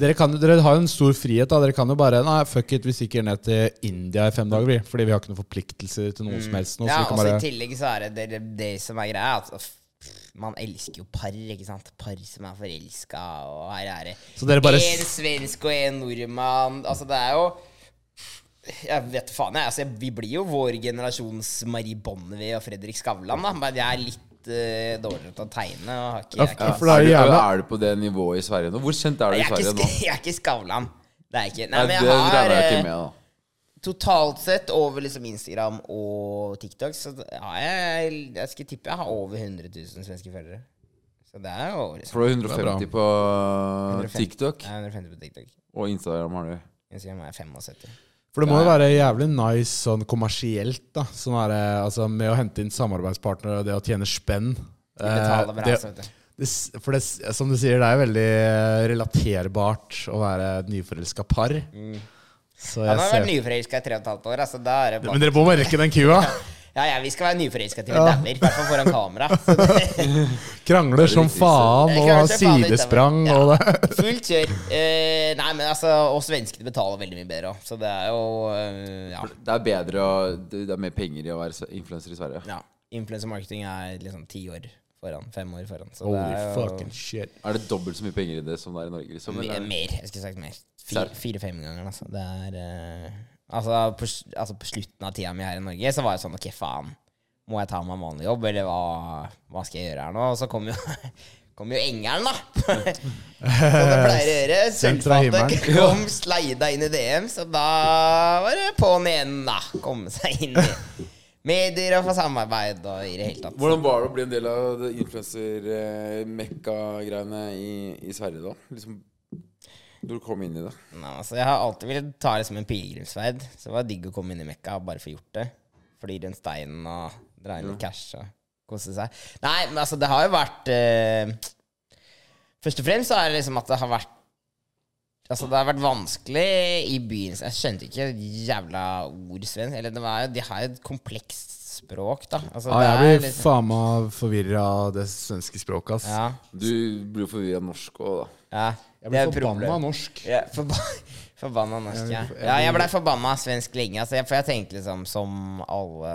Speaker 4: Dere, kan, dere har jo en stor frihet. da Dere kan jo bare Nei, fuck it, vi stikker ned til India i fem dager, vi. Fordi vi har ikke noen forpliktelser til noen som helst nå. Så
Speaker 2: Mm. Ja,
Speaker 4: vi
Speaker 2: og
Speaker 4: kan
Speaker 2: så
Speaker 4: bare
Speaker 2: i tillegg så er det det, det som er greia, at f- man elsker jo par, ikke sant? Par som er forelska, og her er det
Speaker 4: Så dere bare
Speaker 2: en svensk og en nordmann. Altså, det er jo jeg vet faen, jeg. Altså, vi blir jo vår generasjons Marie Bonnevie og Fredrik Skavlan, da. Men jeg er litt eh, dårligere til å tegne. Og har ikke, jeg, er ikke,
Speaker 4: Ja, for det er
Speaker 3: du,
Speaker 4: jo gjerne
Speaker 3: er du på det nivået i Sverige nå? Hvor kjent er du i
Speaker 2: jeg, er ikke,
Speaker 3: Sverige nå?
Speaker 2: sk- jeg er ikke Skavlan. Det er jeg ikke. Nei,
Speaker 3: Nei,
Speaker 2: men
Speaker 3: det
Speaker 2: jeg har
Speaker 3: regner jeg
Speaker 2: eh,
Speaker 3: ikke med, da.
Speaker 2: Totalt sett over liksom Instagram og TikTok så har jeg Jeg skal tippe jeg har over 100 000 svenske følgere. Så det er jo liksom,
Speaker 3: For du har 150 på eh,
Speaker 2: 150.
Speaker 3: TikTok,
Speaker 2: jeg er 150 på TikTok.
Speaker 3: og Instagram har du.
Speaker 2: Instagram er 75.
Speaker 4: For det må jo være jævlig nice sånn kommersielt, da. Sånn er, det, altså, med å hente inn samarbeidspartnere og det å tjene spenn.
Speaker 2: Vi betaler bra,
Speaker 4: Eh,
Speaker 2: så vet du.
Speaker 4: det, s- for det, s- som du sier, det er veldig eh, relaterbart å være et nyforelska par.
Speaker 2: Mm.
Speaker 4: Så
Speaker 2: Han
Speaker 4: jeg
Speaker 2: har
Speaker 4: ser
Speaker 2: vært nyforelska i 3 15 år. Altså, da er det
Speaker 4: Men
Speaker 2: bare,
Speaker 4: dere må bare rekke den kua.
Speaker 2: ja, ja, vi skal være nyforelska til vi
Speaker 4: Ja.
Speaker 2: dauer. I hvert fall foran kamera. Så det,
Speaker 4: Krangler som
Speaker 3: viktigste.
Speaker 4: faen og
Speaker 2: Jeg
Speaker 4: har
Speaker 2: krangler som faen
Speaker 4: sidesprang
Speaker 2: utover.
Speaker 4: og det.
Speaker 2: fullt kjør. Eh, nei, men altså, og svenskene betaler veldig mye bedre òg, så det er jo eh, Ja.
Speaker 3: Det er bedre å Det det er mer penger i å være influenser i Sverige.
Speaker 2: ja. Influencer marketing er liksom ti år foran. Fem år foran. Så det er
Speaker 4: Holy
Speaker 2: jo
Speaker 4: fucking shit.
Speaker 3: Er det dobbelt så mye penger i det som det er i Norge? Liksom,
Speaker 2: Me-
Speaker 3: eller?
Speaker 2: Mer. Jeg skulle sagt mer.
Speaker 3: Serr?
Speaker 2: Fire- Fire-fem ganger, altså. Det er eh, altså, på, s- altså, på slutten av tida mi her i Norge, så var jeg sånn OK, faen. Må jeg ta meg en vanlig jobb, eller hva, hva skal jeg gjøre her nå? Og så kom jo, kom jo engelen, da. Som det pleier å gjøre.
Speaker 4: Sendt fra
Speaker 2: Sølvfatet kom sleida inn i DM, så da var det på'n igjen, da. Komme seg inn i medier og få samarbeid og i det hele tatt.
Speaker 3: Hvordan var det å bli en del av det influenser-mekka-greiene i, i Sverige, da? Liksom, når du kom inn i det?
Speaker 2: Nei, altså, jeg har alltid villet ta det som en pilegrimsferd. Så det var digg å komme inn i Mekka og bare få gjort det. Fly rundt steinen og dra inn litt cash og kose seg. Nei, men altså, det har jo vært eh, Først og fremst så er det liksom at det har vært Altså, det har vært vanskelig i byen. Jeg skjønte ikke jævla ord svensk. Eller det var jo De har jo et komplekst språk, da. Altså,
Speaker 4: Ja,
Speaker 2: det
Speaker 4: Ah, jeg
Speaker 2: er
Speaker 4: blir
Speaker 2: liksom
Speaker 4: faen meg forvirra av det svenske språket, ass.
Speaker 2: Ja.
Speaker 3: Du blir jo forvirra norsk òg, da.
Speaker 2: ja. Det er
Speaker 4: Jeg blir
Speaker 2: et problem.
Speaker 4: forbanna norsk.
Speaker 2: Ja, forba forbanna norsk, ja.
Speaker 4: Jeg- jeg-
Speaker 2: Ja, jeg blei forbanna svensk lenge. Altså, jeg, for jeg tenkte liksom, som alle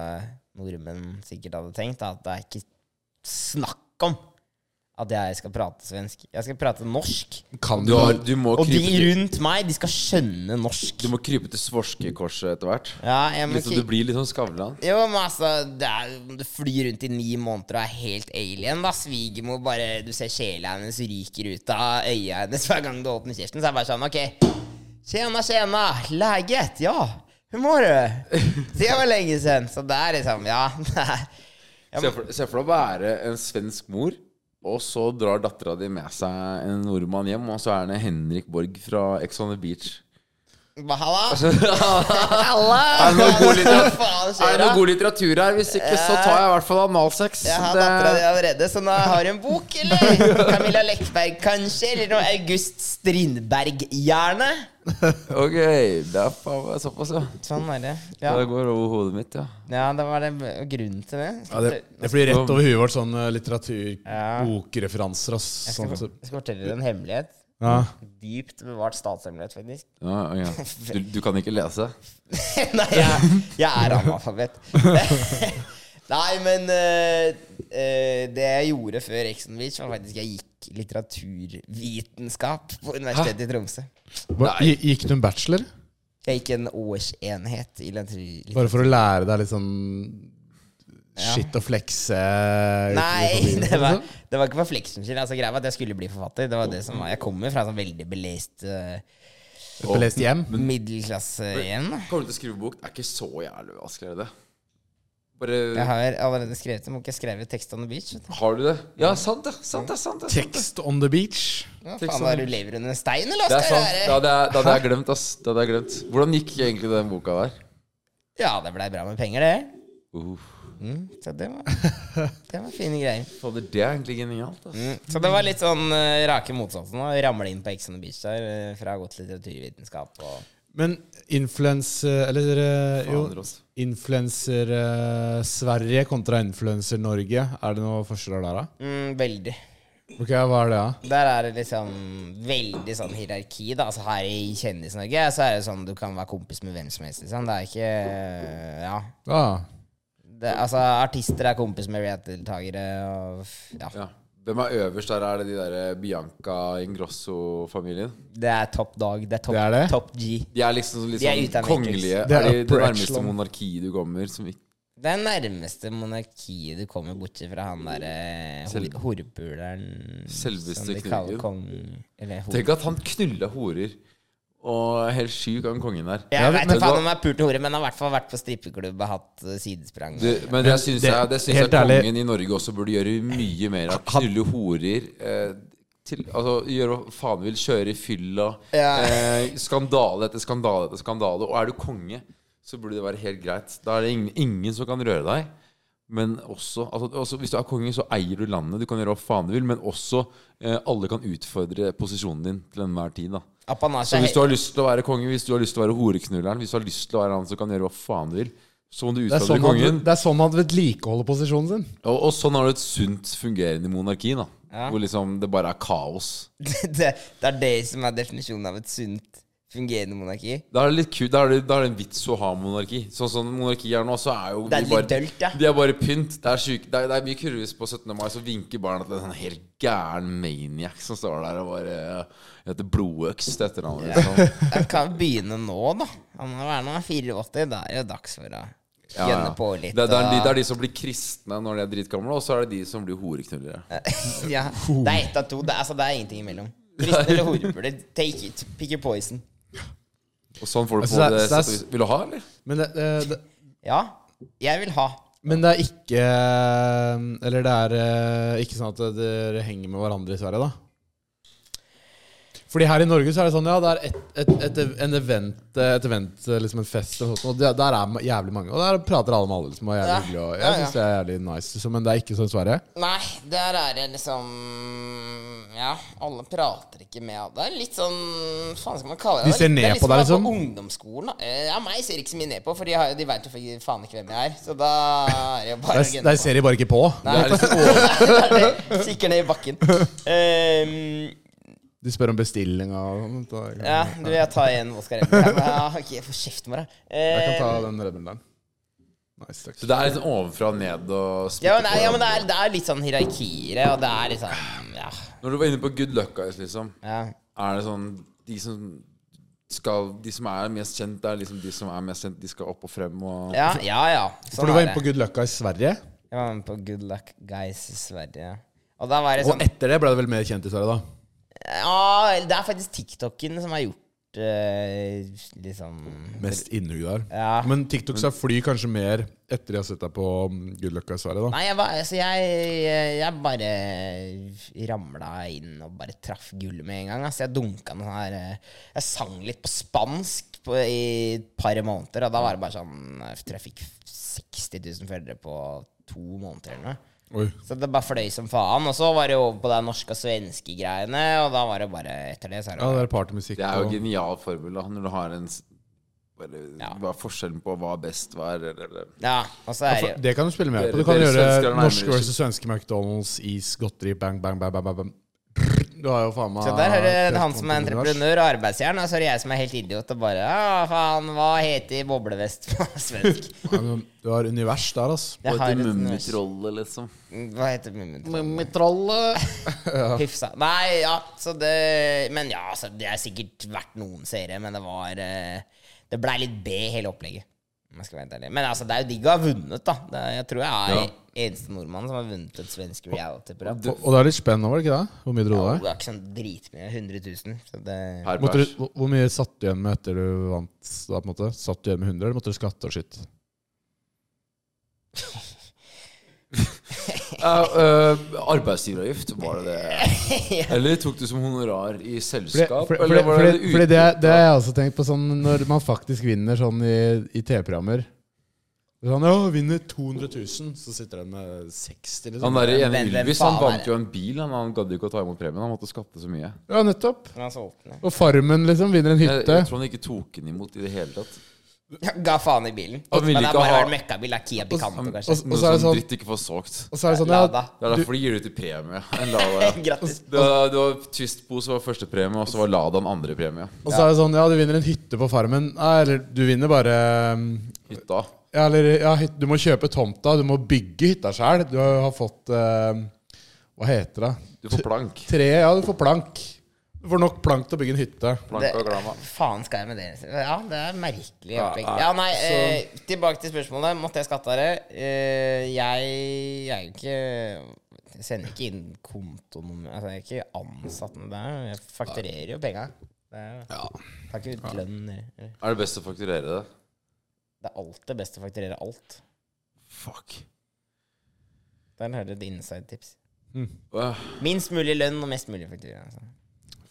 Speaker 2: nordmenn sikkert hadde tenkt, at det er ikke snakk om at jeg skal prate svensk. Jeg skal prate norsk.
Speaker 4: Kan
Speaker 3: Du,
Speaker 4: du
Speaker 3: har, du, må,
Speaker 2: Og de
Speaker 3: krype til,
Speaker 2: rundt meg, de skal skjønne norsk.
Speaker 3: du må krype til svorskekorset etter hvert.
Speaker 2: Ja, jeg må
Speaker 3: Liksom, du
Speaker 2: kikke-
Speaker 3: blir litt sånn Skavlan.
Speaker 2: Jo, men altså, det er, du flyr rundt i ni måneder og er helt alien, da. Svigermor bare Du ser sjela hennes ryker ut av øya hennes hver gang du åpner kjeften. Så er det bare sånn, OK. Tjena, tjena. Läget? Ja. Hur mår du? Det var lenge siden. Så det er liksom Ja.
Speaker 3: Se for se for deg å være en svensk mor Og så drar dattera di med seg en nordmann hjem, og så er det Henrik Borg fra Ex on the Beach.
Speaker 2: Ba- Halla!
Speaker 3: Altså, Er det noe god
Speaker 2: Hva
Speaker 3: litteratur,
Speaker 2: faen
Speaker 3: er
Speaker 2: skjer
Speaker 3: det
Speaker 2: da?
Speaker 3: noe god litteratur her? Hvis ikke, så tar jeg i hvert fall analsex.
Speaker 2: Jeg har
Speaker 3: Det-
Speaker 2: dattera di allerede, så nå har du en bok, eller? Camilla Lekberg, kanskje? Eller noe August Strindberg, gjerne?
Speaker 3: Ok, det er faen meg såpass, ja.
Speaker 2: Sånn er det. Ja,
Speaker 3: Det går over hodet mitt, ja.
Speaker 2: ja det var det og grunnen til det.
Speaker 4: Ja, det, det blir rett over huet vårt sånn eh, litteratur,
Speaker 2: Ja.
Speaker 4: bokreferanser ass.
Speaker 2: Jeg skal,
Speaker 4: Sånn,
Speaker 2: for-
Speaker 4: så,
Speaker 2: jeg skal fortelle dere en hemmelighet.
Speaker 4: ja.
Speaker 2: Dypt bevart statshemmelighet, faktisk.
Speaker 3: ja, ok. Du, du kan ikke lese?
Speaker 2: Nei, jeg, jeg er analfabet. Nei, men eh, eh, det jeg gjorde før Exon Beach, var faktisk jeg gikk litteraturvitenskap på Universitetet i Tromsø.
Speaker 4: Hva, gi- Gikk du en bachelor?
Speaker 2: Jeg gikk en årsenhet i litteratur... litt-
Speaker 4: Bare for å lære deg litt sånn Shit og flekse
Speaker 2: Nei,
Speaker 4: utenfor byen,
Speaker 2: det var,
Speaker 4: liksom?
Speaker 2: det var ikke for fleksen sin. Altså, greia var at jeg skulle bli forfatter. Det var det som var. Jeg kommer fra en sånn veldig belest eh,
Speaker 4: Ble lest hjem?
Speaker 2: middelklasse igjen.
Speaker 3: Kommer du til å skrive bok? Det er ikke så jævlig vanskelig, er det det?
Speaker 2: Jeg
Speaker 3: Bare
Speaker 2: har allerede skrevet det. Må ikke skrive tekst on the beach. Vet du.
Speaker 3: Har du det? Ja, sant det. Sant det, sant det. sant det.
Speaker 4: Tekst on the beach.
Speaker 2: Ja,
Speaker 3: Tekst
Speaker 2: faen,
Speaker 3: on
Speaker 2: da
Speaker 3: the
Speaker 2: du lever under en stein, eller?
Speaker 3: Det
Speaker 2: hva
Speaker 3: er
Speaker 2: skal
Speaker 3: sant.
Speaker 2: det
Speaker 3: Det
Speaker 2: være?
Speaker 3: hadde jeg, det hadde jeg glemt, ass. Det hadde jeg glemt. Hvordan gikk egentlig den boka der?
Speaker 2: Ja, det blei bra med penger, det.
Speaker 3: Uh,
Speaker 2: Mm, så det var, det var fine greier.
Speaker 3: fader, det er egentlig genialt, ass.
Speaker 2: Mm, så det var litt sånn eh, rake motsatsen. Å ramle inn på Ex on the beach der eh, fra godt litteraturvitenskap og
Speaker 4: Men influense... Eller eh,
Speaker 3: Fader,
Speaker 4: jo,
Speaker 3: ass.
Speaker 4: influenser-Sverige kontra influenser-Norge. Er det noe forskjeller der, da?
Speaker 2: mm, Veldig.
Speaker 4: Ok, Hva er det, da?
Speaker 2: Der er det liksom veldig sånn hierarki, da. Altså her i Kjendis-Norge så er det sånn du kan være kompis med hvem som helst, liksom. Det er ikke Ja.
Speaker 4: Ah.
Speaker 2: Det, altså, artister er kompis med reality-deltakere og ja.
Speaker 3: Ja. Hvem er øverst der? Er det de der eh, Bianca Ingrosso-familien?
Speaker 2: Det er top dog. Det er top,
Speaker 4: Det er det?
Speaker 2: top G.
Speaker 3: De er liksom litt
Speaker 2: De er
Speaker 3: sånn
Speaker 2: ute av Matrix.
Speaker 3: kongelige.
Speaker 4: Det
Speaker 3: Det
Speaker 4: er
Speaker 3: er, de det
Speaker 4: upper
Speaker 3: nærmeste
Speaker 4: echelon.
Speaker 3: monarkiet du kommer. Som ikke,
Speaker 2: Det er nærmeste monarkiet du kommer borti fra han derre horpuleren
Speaker 3: Selveste
Speaker 2: som de kaller
Speaker 3: knurken.
Speaker 2: kong Eller hor...
Speaker 3: tenk at han knulla horer. Og helt sjuk, han kongen der.
Speaker 2: Jeg veit
Speaker 3: men
Speaker 2: ikke faen
Speaker 3: hva-
Speaker 2: om han er pult hore, men han har i hvert fall vært på strippeklubb og hatt eh, sidesprang.
Speaker 3: Du, men det syns
Speaker 4: det-
Speaker 3: jeg, det syns jeg
Speaker 4: helt ærlig-
Speaker 3: kongen i Norge også burde gjøre mye mer av. Knulle horer. Eh, til, altså, gjøre hva faen du vil. Kjøre i fylla.
Speaker 2: Ja.
Speaker 3: Eh, skandale etter skandale etter skandale. Og er du konge, så burde det være helt greit. Da er det ingen, ingen som kan røre deg. Men også, altså, også Hvis du er konge, så eier du landet. Du kan gjøre hva faen du vil. Men også eh, alle kan utfordre posisjonen din til enhver tid. da så
Speaker 2: Apanasje
Speaker 3: hvis du har lyst til å være konge, hvis du har lyst til å være horeknulleren, hvis du har lyst til å være han som kan gjøre hva faen du vil, så må du
Speaker 4: Det er
Speaker 3: utfordre
Speaker 4: sånn han,
Speaker 3: kongen.
Speaker 4: det er sånn han vedlikeholder posisjonen sin.
Speaker 3: Og, og sånn har du et sunt fungerende monarki, da. Hvor liksom det bare er kaos.
Speaker 2: det, det er det som er definisjonen av et sunt, fungerende monarki.
Speaker 3: Da er det litt kult, da er det, da er det en vits å ha monarki. Sånn som monarki er nå, så er jo
Speaker 2: Det er
Speaker 3: de
Speaker 2: litt
Speaker 3: bare,
Speaker 2: dølt, ja.
Speaker 3: De er bare pynt. Det er, syke, det er, det er mye kurvis på 17. mai, så vinker barna til en sånn helt gæren maniac som står der og bare eh, heter Blodøks til etternavn. Liksom.
Speaker 2: Jeg kan begynne nå, da. Han må være nå 84. Da er det jo dags for å
Speaker 3: Ja,
Speaker 2: gønne
Speaker 3: ja.
Speaker 2: på litt.
Speaker 3: Det, det, er de,
Speaker 2: og-
Speaker 3: det er de som blir kristne når de er dritgamle, og så er det de som blir horeknullere.
Speaker 2: ja, det er ett av to. Det, er- altså, det er ingenting imellom. Kristne eller horepuler. Take it. Pick your poison.
Speaker 3: Og sånn får du
Speaker 4: Altså,
Speaker 3: på
Speaker 4: det er-
Speaker 3: det,
Speaker 4: det er-
Speaker 3: settet- Vil du ha, eller?
Speaker 4: Men det, det, det,
Speaker 2: Ja, jeg vil ha.
Speaker 4: men det er ikke Eller det er eh, ikke sånn at dere henger med hverandre i Sverige, da? Fordi her i Norge så er det sånn, ja, det er et, et, et, en event, et event, eh, liksom en fest eller noe sånt, og der, der er ma- jævlig mange, og der prater alle med alle, liksom, og er jævlig
Speaker 2: Ja.
Speaker 4: hyggelig, og
Speaker 2: Ja,
Speaker 4: jeg
Speaker 2: ja.
Speaker 4: synes det er jævlig nice, liksom, men det er ikke sånn i Sverige.
Speaker 2: Nei, der er det liksom Ja, alle prater ikke med alle. Det er litt sånn Hva faen skal man kalle det?
Speaker 4: De ser ned
Speaker 2: det er litt
Speaker 4: på
Speaker 2: som
Speaker 4: deg,
Speaker 2: å være
Speaker 4: liksom?
Speaker 2: På ungdomsskolen. da. Eh, Ja, meg ser ikke så mye ned på, for de, har- de veit jo fa- faen ikke hvem jeg er. Så da er det jo bare
Speaker 4: Der, der ser de bare ikke på.
Speaker 2: Nei, det er det. Kikker ned i bakken. Ehm,
Speaker 4: De spør om bestilling og sånt. og-
Speaker 2: ja, du, jeg tar en Oscar Ebbelheim. Ja, ok, få kjeft med deg.
Speaker 4: Jeg kan ta
Speaker 2: Ehm,
Speaker 4: den Red Bullen der. Nice, takk.
Speaker 3: Så det er litt sånn ovenfra og ned og spytte
Speaker 2: ja, men, nei,
Speaker 3: på
Speaker 2: ja, men
Speaker 3: hverandre.
Speaker 2: det er, det er litt sånn hierarkier, og det er litt sånn Ja.
Speaker 3: Når du var inne på Good Luck Guys, liksom,
Speaker 2: ja.
Speaker 3: er det sånn De som skal De som er mest kjent, det er liksom de som er mest kjent, de skal opp og frem og
Speaker 2: Ja, ja. ja. Sånn
Speaker 4: For du var
Speaker 2: er
Speaker 4: inne
Speaker 2: det.
Speaker 4: på Good Lucka i Sverige,
Speaker 2: Jeg var med på Good Luck Guys i Sverige. Og da var det
Speaker 4: og
Speaker 2: sånn
Speaker 4: etter det ble det vel mer kjent i Sverige, da?
Speaker 2: Ja, det er faktisk TikToken som har gjort vært eh, liksom
Speaker 4: Mest innhugg der.
Speaker 2: Ja.
Speaker 4: Men TikToks er fly kanskje mer etter de har sett deg på mm, Good Luck i Sverige, da.
Speaker 2: Nei, jeg, var, altså, jeg, eh, jeg bare ramla inn og bare traff gullet med en gang. Altså, jeg dunka den her eh, Jeg sang litt på spansk på, i et par måneder, og da var det bare sånn Jeg tror jeg fikk 60 000 følgere på to måneder eller noe.
Speaker 4: Oi.
Speaker 2: Så det bare fløy som faen. Og så var det over på de norske og svenske greiene, og da var det bare etter det. Så er det
Speaker 4: Ja, det
Speaker 2: bare,
Speaker 4: er partymusikk.
Speaker 3: Det er jo
Speaker 4: og-
Speaker 3: genial formel da, når du har en s- bare,
Speaker 2: Ja.
Speaker 3: Hva er forskjellen på hva er best, hva er eller, eller.
Speaker 2: ja, og så er det
Speaker 4: Det kan du spille med på. Du
Speaker 3: Dere-
Speaker 4: kan
Speaker 3: dere svensker
Speaker 4: gjøre
Speaker 3: er nærmere
Speaker 4: norske
Speaker 3: ikke.
Speaker 4: versus svenske McDonald's, is, godteri, bang, bang, bang, bang, bang, bang. Du har jo faen meg
Speaker 2: Så der er det
Speaker 4: trett
Speaker 2: han som er
Speaker 4: måneder univers.
Speaker 2: entreprenør og arbeidsjern, og så er det jeg som er helt idiot og bare Ja, faen, hva heter boblevest på svensk?
Speaker 4: Ja, du- Du har univers der, altså.
Speaker 3: Hva
Speaker 2: Jeg har
Speaker 3: heter
Speaker 2: et
Speaker 3: mummitrollet, liksom?
Speaker 2: Hva heter mummitroll?
Speaker 4: Mummitrollet.
Speaker 2: Hyfsa. Nei, ja, så det Men ja, altså, det er sikkert vært noen seere, men det var eh, Det blei litt B, hele opplegget. Om jeg skal være helt ærlig. Men altså, det er jo digg å ha vunnet, da. Det, er- jeg tror jeg er eneste nordmann som har vunnet et svensk reality-program.
Speaker 4: Og og det er litt spennende, var det ikke det? Hvor mye dro
Speaker 2: Det
Speaker 4: det?
Speaker 2: er ikke sånn dritmye. 100 000. Så det
Speaker 3: Per
Speaker 4: Måtte du,
Speaker 3: pers.
Speaker 4: hvor- hvor mye satt du igjen med etter du vant? Da, på en måte? Satt du igjen med 100, eller måtte du skatte og skitt?
Speaker 3: Eh, eh, arbeidsgiveravgift, var det det? Eller tok du som honorar i
Speaker 4: Fordi,
Speaker 3: selskap?
Speaker 4: fordi,
Speaker 3: eller
Speaker 4: fordi,
Speaker 3: var
Speaker 4: fordi,
Speaker 3: det
Speaker 4: fordi det,
Speaker 3: utbytte?
Speaker 4: det har jeg også tenkt på sånn når man faktisk vinner sånn i, i TV-programmer. Sånn, ja, vinner 200 000, så sitter den med 60
Speaker 3: Han
Speaker 4: liksom.
Speaker 3: der ene
Speaker 2: Hvem- hvem
Speaker 3: Ylvis han
Speaker 2: faen er
Speaker 3: vant
Speaker 2: det?
Speaker 3: jo en bil. Han, han gadd jo ikke å ta imot premien. Han måtte skatte så mye.
Speaker 4: Ja, nettopp.
Speaker 2: Men han solgte den.
Speaker 4: Og Farmen liksom vinner en
Speaker 3: Jeg,
Speaker 4: hytte.
Speaker 3: jeg tror han ikke tok den imot i det hele tatt.
Speaker 2: Jeg Ga faen i bilen.
Speaker 3: Han ville
Speaker 2: Men
Speaker 3: ikke
Speaker 2: det er bare
Speaker 3: ha-
Speaker 2: vært møkkabil. Det er Kia Picanto,
Speaker 3: Han-
Speaker 2: kanskje.
Speaker 4: og
Speaker 3: Noe
Speaker 4: så er
Speaker 3: sånn
Speaker 4: det sånn-
Speaker 3: dritt ikke får solgt.
Speaker 4: Og så er det sånn,
Speaker 2: Lada.
Speaker 4: ja,
Speaker 3: Det er derfor de gir ut i premie. En Lada.
Speaker 2: Grattis.
Speaker 3: Det var, det var Twistbo som var første premie, og så var Ladaen andre premie.
Speaker 4: og så er det sånn, ja, du vinner en hytte på Farmen. Nei, eller du vinner bare um,
Speaker 3: Hytta.
Speaker 4: Ja, eller ja, hyt- du må kjøpe tomta, du må bygge hytta sjøl. Du har har fått um, Hva heter det?
Speaker 3: Du får plank.
Speaker 4: Tre, ja, du får plank. Du får nok plank til å bygge en hytte.
Speaker 3: Plank og glama.
Speaker 2: Faen skal jeg med det? Ja, det er merkelig opplegg. Ja, nei, eh, tilbake til spørsmålet. Måtte jeg skatte av det? Eh, jeg, jeg er jo ikke Jeg sender ikke inn kontonummer Altså, jeg er ikke ansatt med det. Jeg fakturerer jo penga. Det er,
Speaker 4: Ja.
Speaker 2: tar ikke ut lønn. eller- eller.
Speaker 3: Er det best å fakturere det?
Speaker 2: Det er alltid best å fakturere alt.
Speaker 3: Fuck.
Speaker 2: Der har du et inside tips.
Speaker 3: Åh,
Speaker 2: Minst mulig lønn og mest mulig fakturering. Altså.